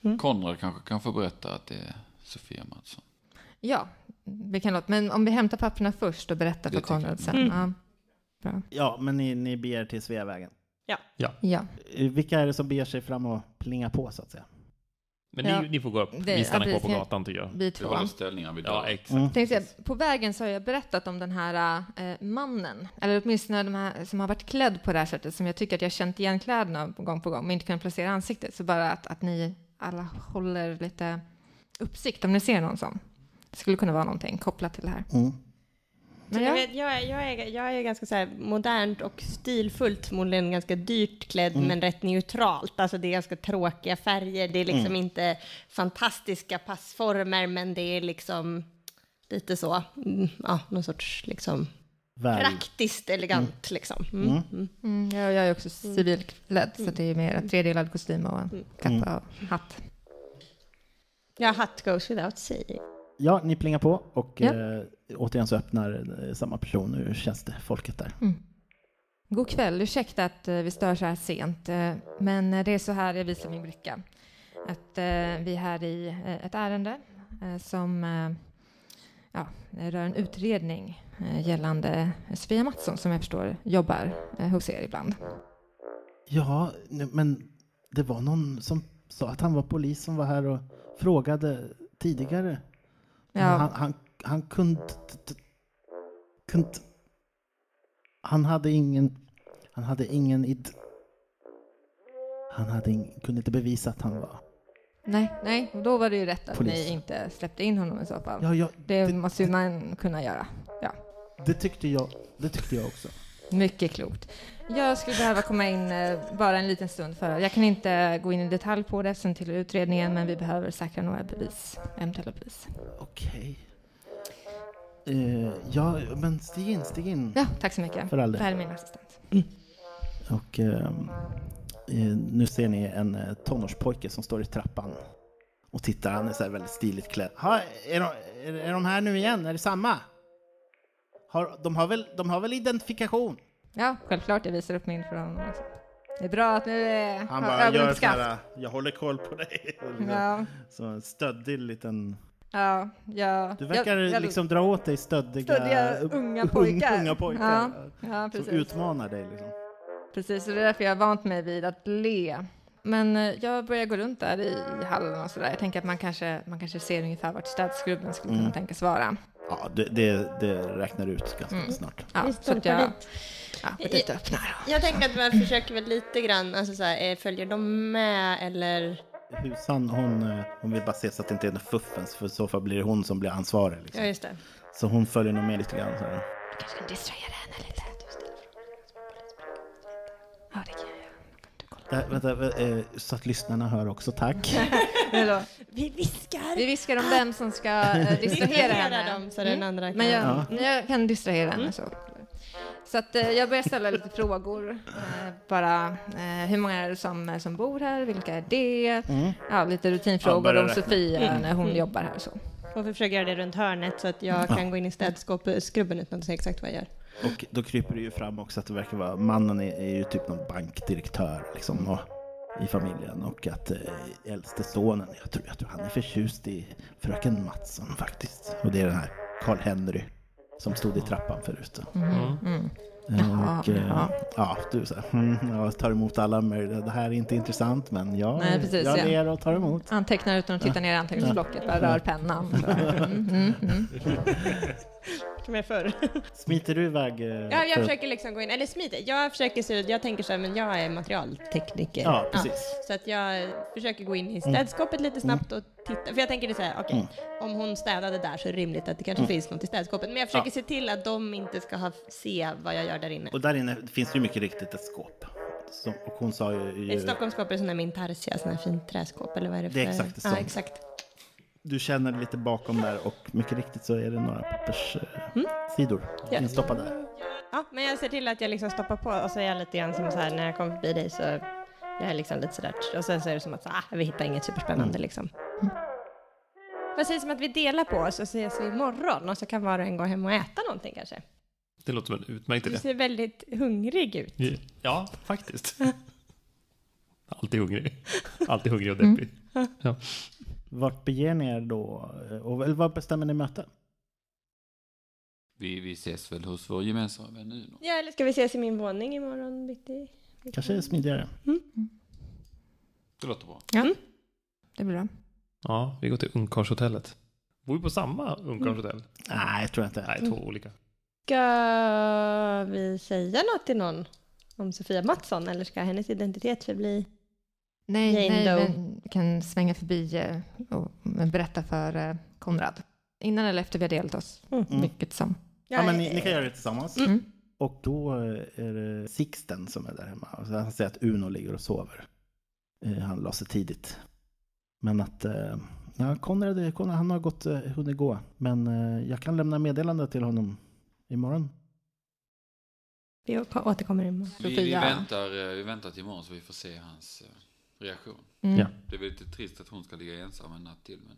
[SPEAKER 2] en gång.
[SPEAKER 4] Konrad kanske kan få berätta att det är Sofia Mattsson.
[SPEAKER 5] Ja, vi kan låta. Men om vi hämtar papperna först och berättar
[SPEAKER 4] Det
[SPEAKER 5] för
[SPEAKER 4] tycker jag.
[SPEAKER 5] Konrad sen.
[SPEAKER 2] Mm.
[SPEAKER 5] Ja. Bra.
[SPEAKER 3] Ja, men ni, ni beger till Sveavägen.
[SPEAKER 5] Ja,
[SPEAKER 3] Eh, Vilka är det som beger sig fram och plingar på så att säga?
[SPEAKER 6] Men
[SPEAKER 5] Ja.
[SPEAKER 6] ni, ni får gå upp.
[SPEAKER 5] Det-
[SPEAKER 6] vi stannar
[SPEAKER 5] ja,
[SPEAKER 6] kvar på
[SPEAKER 5] precis.
[SPEAKER 6] gatan tycker jag.
[SPEAKER 5] vi
[SPEAKER 4] Vi
[SPEAKER 5] två.
[SPEAKER 4] håller ställningar vid
[SPEAKER 6] Ja,
[SPEAKER 4] dörren.
[SPEAKER 6] exakt.
[SPEAKER 3] Mm.
[SPEAKER 5] Tänkte jag, på vägen så har jag berättat om den här eh, mannen, eller åtminstone de här som har varit klädd på det här sättet, som jag tycker att jag känt igen kläderna på gång på gång, men inte kunnat placera ansiktet. Så bara att, att ni alla håller lite uppsikt om ni ser någon sån. Det skulle kunna vara någonting kopplat till det här.
[SPEAKER 3] Mm.
[SPEAKER 5] Men
[SPEAKER 2] jag,
[SPEAKER 5] ja,
[SPEAKER 2] vet, jag, är, jag, är, jag är ganska så här modernt och stilfullt, förmodligen ganska dyrt klädd, men rätt neutralt. Alltså det är ganska tråkiga färger, det är liksom inte fantastiska passformer, men det är liksom lite så, mm, ja, någon sorts liksom
[SPEAKER 3] Väl.
[SPEAKER 2] praktiskt elegant liksom. Mm. Mm.
[SPEAKER 5] mm, jag, jag är också civilklädd, så det är mer en tredelad kostym och en kappa och hatt.
[SPEAKER 2] Ja, hat goes without saying.
[SPEAKER 3] Ja, ni plingar på och
[SPEAKER 5] Ja.
[SPEAKER 3] eh, återigen så öppnar eh, samma person ur tjänstefolket där.
[SPEAKER 5] God kväll, ursäkta att eh, vi stör så här sent, eh, men eh, det är så här jag visar min bricka. Att eh, vi är här i eh, ett ärende eh, som eh, ja, rör en utredning eh, gällande Sofia Mattsson som jag förstår jobbar eh, hos er ibland.
[SPEAKER 3] Ja, nu- men det var någon som sa att han var polis som var här och frågade tidigare. Men Han,
[SPEAKER 5] Ja,
[SPEAKER 3] han, han kunde... kunde han hade ingen... Han hade ingen id... Han hade ing, kunde inte bevisa att han var...
[SPEAKER 5] nej, nej, och då var det ju rätt att
[SPEAKER 3] Polis.
[SPEAKER 5] ni inte släppte in honom i så fall.
[SPEAKER 3] Ja, ja,
[SPEAKER 5] Det måste ju man kunna göra. Ja.
[SPEAKER 3] Det tyckte jag, det tyckte jag också.
[SPEAKER 5] Mycket klokt. Jag skulle behöva komma in eh, bara en liten stund för jag kan inte gå in i detalj på det eftersom till utredningen, men vi behöver säkra några bevis, eventuella bevis.
[SPEAKER 3] Okej. Eh, ja, men stig in, stig in.
[SPEAKER 5] Ja, tack så mycket.
[SPEAKER 3] För all del.
[SPEAKER 5] Det här är min assistent.
[SPEAKER 3] Och ehm, eh, nu ser ni en eh, tonårspojke som står i trappan och tittar. Han är så här väldigt stiligt klädd. Ha, är, de, är, är de här nu igen? Är det samma? Har, de, har väl, de har väl identifikation?
[SPEAKER 5] Ja, självklart. Jag visar upp min för honom. också. Det är bra att nu eh,
[SPEAKER 3] Han
[SPEAKER 5] har
[SPEAKER 3] bara
[SPEAKER 5] ögonen
[SPEAKER 3] gör
[SPEAKER 5] på
[SPEAKER 3] så
[SPEAKER 5] skaft.
[SPEAKER 3] här, jag håller koll på dig.
[SPEAKER 5] Ja,
[SPEAKER 3] Så en stöddig liten...
[SPEAKER 5] ja, ja.
[SPEAKER 3] Du verkar
[SPEAKER 5] jag, jag,
[SPEAKER 3] liksom dra åt dig stöddiga,
[SPEAKER 5] Stöddiga unga pojkar.
[SPEAKER 3] unga pojkar
[SPEAKER 5] Ja, ja,
[SPEAKER 3] som
[SPEAKER 5] precis.
[SPEAKER 3] utmanar dig. Liksom.
[SPEAKER 5] Precis, och det är därför jag har vant mig vid att le. Men eh, jag börjar gå runt där i i hallen och sådär. Jag tänker att man kanske, man kanske ser ungefär vart städskrubben skulle
[SPEAKER 3] Mm.
[SPEAKER 5] kunna tänkas vara.
[SPEAKER 3] Ja, det, det, det räknar ut ganska
[SPEAKER 5] Mm.
[SPEAKER 3] snart.
[SPEAKER 5] Ja,
[SPEAKER 8] Vi
[SPEAKER 5] så att
[SPEAKER 8] stolpar
[SPEAKER 5] jag
[SPEAKER 8] dit.
[SPEAKER 5] ja, går dit och öppnar.
[SPEAKER 2] Jag tänker att man försöker väl lite grann, alltså så här, eh, följer de med eller?
[SPEAKER 3] Husan, hon, eh, hon vill bara se så att det inte är något fuffens, för i så fall blir det hon som blir ansvarig.
[SPEAKER 2] Ja,
[SPEAKER 3] Liksom.
[SPEAKER 2] just det.
[SPEAKER 3] Så hon följer nog med lite grann. Så här.
[SPEAKER 5] Du kanske kan distrahera henne lite. Du ställer frågan som polisbrukar. Ja, det kan jag göra. Du kollar.
[SPEAKER 3] Där, vänta, vä- eh, så att lyssnarna hör också, tack.
[SPEAKER 5] Eller då,
[SPEAKER 2] Vi viskar.
[SPEAKER 5] Vi viskar om vem som ska eh, distrahera henne. Mm.
[SPEAKER 2] dem så den andra kan...
[SPEAKER 5] Men jag, jag kan distrahera henne så. Så att, eh, jag börjar ställa lite frågor. Eh, bara eh, hur många är det som, som bor här? Vilka är det? Ja, lite
[SPEAKER 3] Mm. Ja,
[SPEAKER 5] rutinfrågor
[SPEAKER 3] börja
[SPEAKER 5] om
[SPEAKER 3] räkna.
[SPEAKER 5] Sofia
[SPEAKER 8] Mm.
[SPEAKER 5] när hon jobbar här. och Så.
[SPEAKER 2] Och vi försöker göra det runt hörnet så att jag kan gå in i städskåpskrubben utan att säga exakt vad jag gör.
[SPEAKER 3] Och då kryper det ju fram också att det verkar vara, mannen är, är ju typ någon bankdirektör liksom, och, i familjen. Och att eh, äldste sonen, jag tror, jag tror han är förtjust i fröken Mattsson faktiskt. Och det är den här Karl-Henry som stod i trappan förut.
[SPEAKER 5] Mm.
[SPEAKER 3] Eh, Och,
[SPEAKER 5] Jaha,
[SPEAKER 3] eh,
[SPEAKER 5] jaha.
[SPEAKER 3] ja, du så här, mm, jag tar emot alla möjliga. Det här är inte intressant men jag,
[SPEAKER 5] Nej, precis,
[SPEAKER 3] jag
[SPEAKER 5] ja.
[SPEAKER 3] ler och tar emot.
[SPEAKER 5] Antecknar utan att titta ner i anteckningsblocket, bara rör pennan. Så. Mm, mm, mm.
[SPEAKER 2] Som jag förr.
[SPEAKER 3] Smiter du iväg? eh,
[SPEAKER 2] Ja, jag
[SPEAKER 3] för-
[SPEAKER 2] försöker liksom gå in, eller smita. Jag försöker se ut, jag tänker så här, men jag är materialtekniker.
[SPEAKER 3] Ja, Mm. precis.
[SPEAKER 2] Så att jag försöker gå in i städskåpet lite snabbt och titta. För jag tänker det så här, okej,
[SPEAKER 3] Mm.
[SPEAKER 2] om hon städade där så är det rimligt att det kanske finns något i städskåpet. Men jag försöker se till att de inte ska ha, se vad jag gör där inne.
[SPEAKER 3] Och där inne finns det ju mycket riktigt ett skåp. Som, och hon sa ju... ju
[SPEAKER 2] Ett Stockholmsskåp är sån där min tarsia, sån här fint träskåp eller vad är det för?
[SPEAKER 3] Det är exakt ett
[SPEAKER 2] Ja,
[SPEAKER 3] sånt.
[SPEAKER 2] exakt.
[SPEAKER 3] du känner lite bakom där och mycket riktigt så är det några papperssidor
[SPEAKER 2] Ja.
[SPEAKER 3] instoppade där.
[SPEAKER 2] Ja, men jag ser till att jag liksom stoppar på och så är jag lite grann som så här när jag kommer förbi dig så jag är liksom lite sådär och sen så är det som att ah, vi hittar inget superspännande
[SPEAKER 3] Mm.
[SPEAKER 2] liksom. Vad sägs om att vi delar på oss och ses vi imorgon och så kan var och en gå hem och äta någonting kanske?
[SPEAKER 6] Det låter som en utmärkt
[SPEAKER 2] Du
[SPEAKER 6] idé.
[SPEAKER 2] ser väldigt hungrig ut.
[SPEAKER 6] Ja, faktiskt. Alltid hungrig. Alltid hungrig och deppig. Ja.
[SPEAKER 3] Vart beger ni er då? Eh, Och, eller vad bestämmer ni möte?
[SPEAKER 4] Vi, vi ses väl hos vår gemensamma vän Uno.
[SPEAKER 2] Ja, eller ska vi ses i min våning imorgon bitti?
[SPEAKER 3] Kanske är det smidigare.
[SPEAKER 4] Det låter bra.
[SPEAKER 5] Det blir bra.
[SPEAKER 6] ja, vi går till Ungkarlshotellet. Bor vi på samma ungkarlshotell?
[SPEAKER 3] Nej, jag tror inte.
[SPEAKER 6] Nej, två olika.
[SPEAKER 2] Ska vi säga något till någon om Sofia Mattsson eller ska hennes identitet förbli?
[SPEAKER 5] Nej,
[SPEAKER 2] Jane
[SPEAKER 5] nej,
[SPEAKER 2] Doe.
[SPEAKER 5] men vi kan svänga förbi eh, och berätta för eh, Konrad. Innan eller efter vi har delat oss,
[SPEAKER 3] Mm.
[SPEAKER 5] vilket som.
[SPEAKER 3] Ja, men ni, ni kan göra det tillsammans.
[SPEAKER 5] Mm.
[SPEAKER 3] Och då eh, är det Sixten som är där hemma. Och så Han säger att Uno ligger och sover. Eh, Han la sig tidigt. Men att eh, ja, Konrad, Konrad, han har gått, eh, hunnit gå. Men eh, jag kan lämna meddelande till honom imorgon.
[SPEAKER 2] Vi återkommer imorgon.
[SPEAKER 4] Vi, vi,
[SPEAKER 5] Sofia.
[SPEAKER 4] väntar, eh, vi väntar till imorgon så vi får se hans eh, reaktion.
[SPEAKER 5] Mm.
[SPEAKER 6] Ja.
[SPEAKER 4] Det är väl lite trist att hon ska ligga ensam en natt till. Men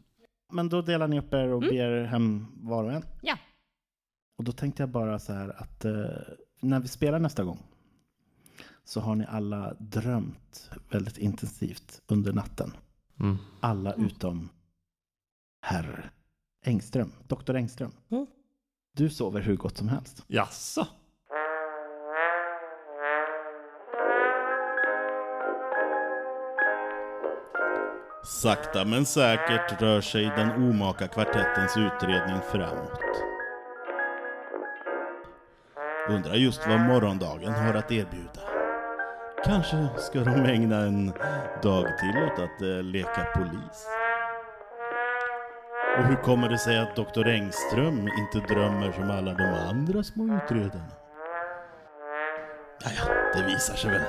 [SPEAKER 3] Men då delar ni upp er och
[SPEAKER 2] Mm.
[SPEAKER 3] ber hem var och en.
[SPEAKER 2] Ja.
[SPEAKER 3] Och då tänkte jag bara så här att eh, när vi spelar nästa gång så har ni alla drömt väldigt intensivt under natten.
[SPEAKER 6] Mm.
[SPEAKER 3] Alla utom herr Engström, doktor Engström.
[SPEAKER 2] Mm.
[SPEAKER 3] Du sover hur gott som helst.
[SPEAKER 6] Jaså?
[SPEAKER 9] Sakta men säkert rör sig den omaka kvartettens utredning framåt. Undrar just vad morgondagen har att erbjuda. Kanske ska de ägna en dag till åt att eh, leka polis.
[SPEAKER 3] Och hur kommer det sig att doktor Engström inte drömmer som alla de andra små utredarna? Jaja, det visar sig väl.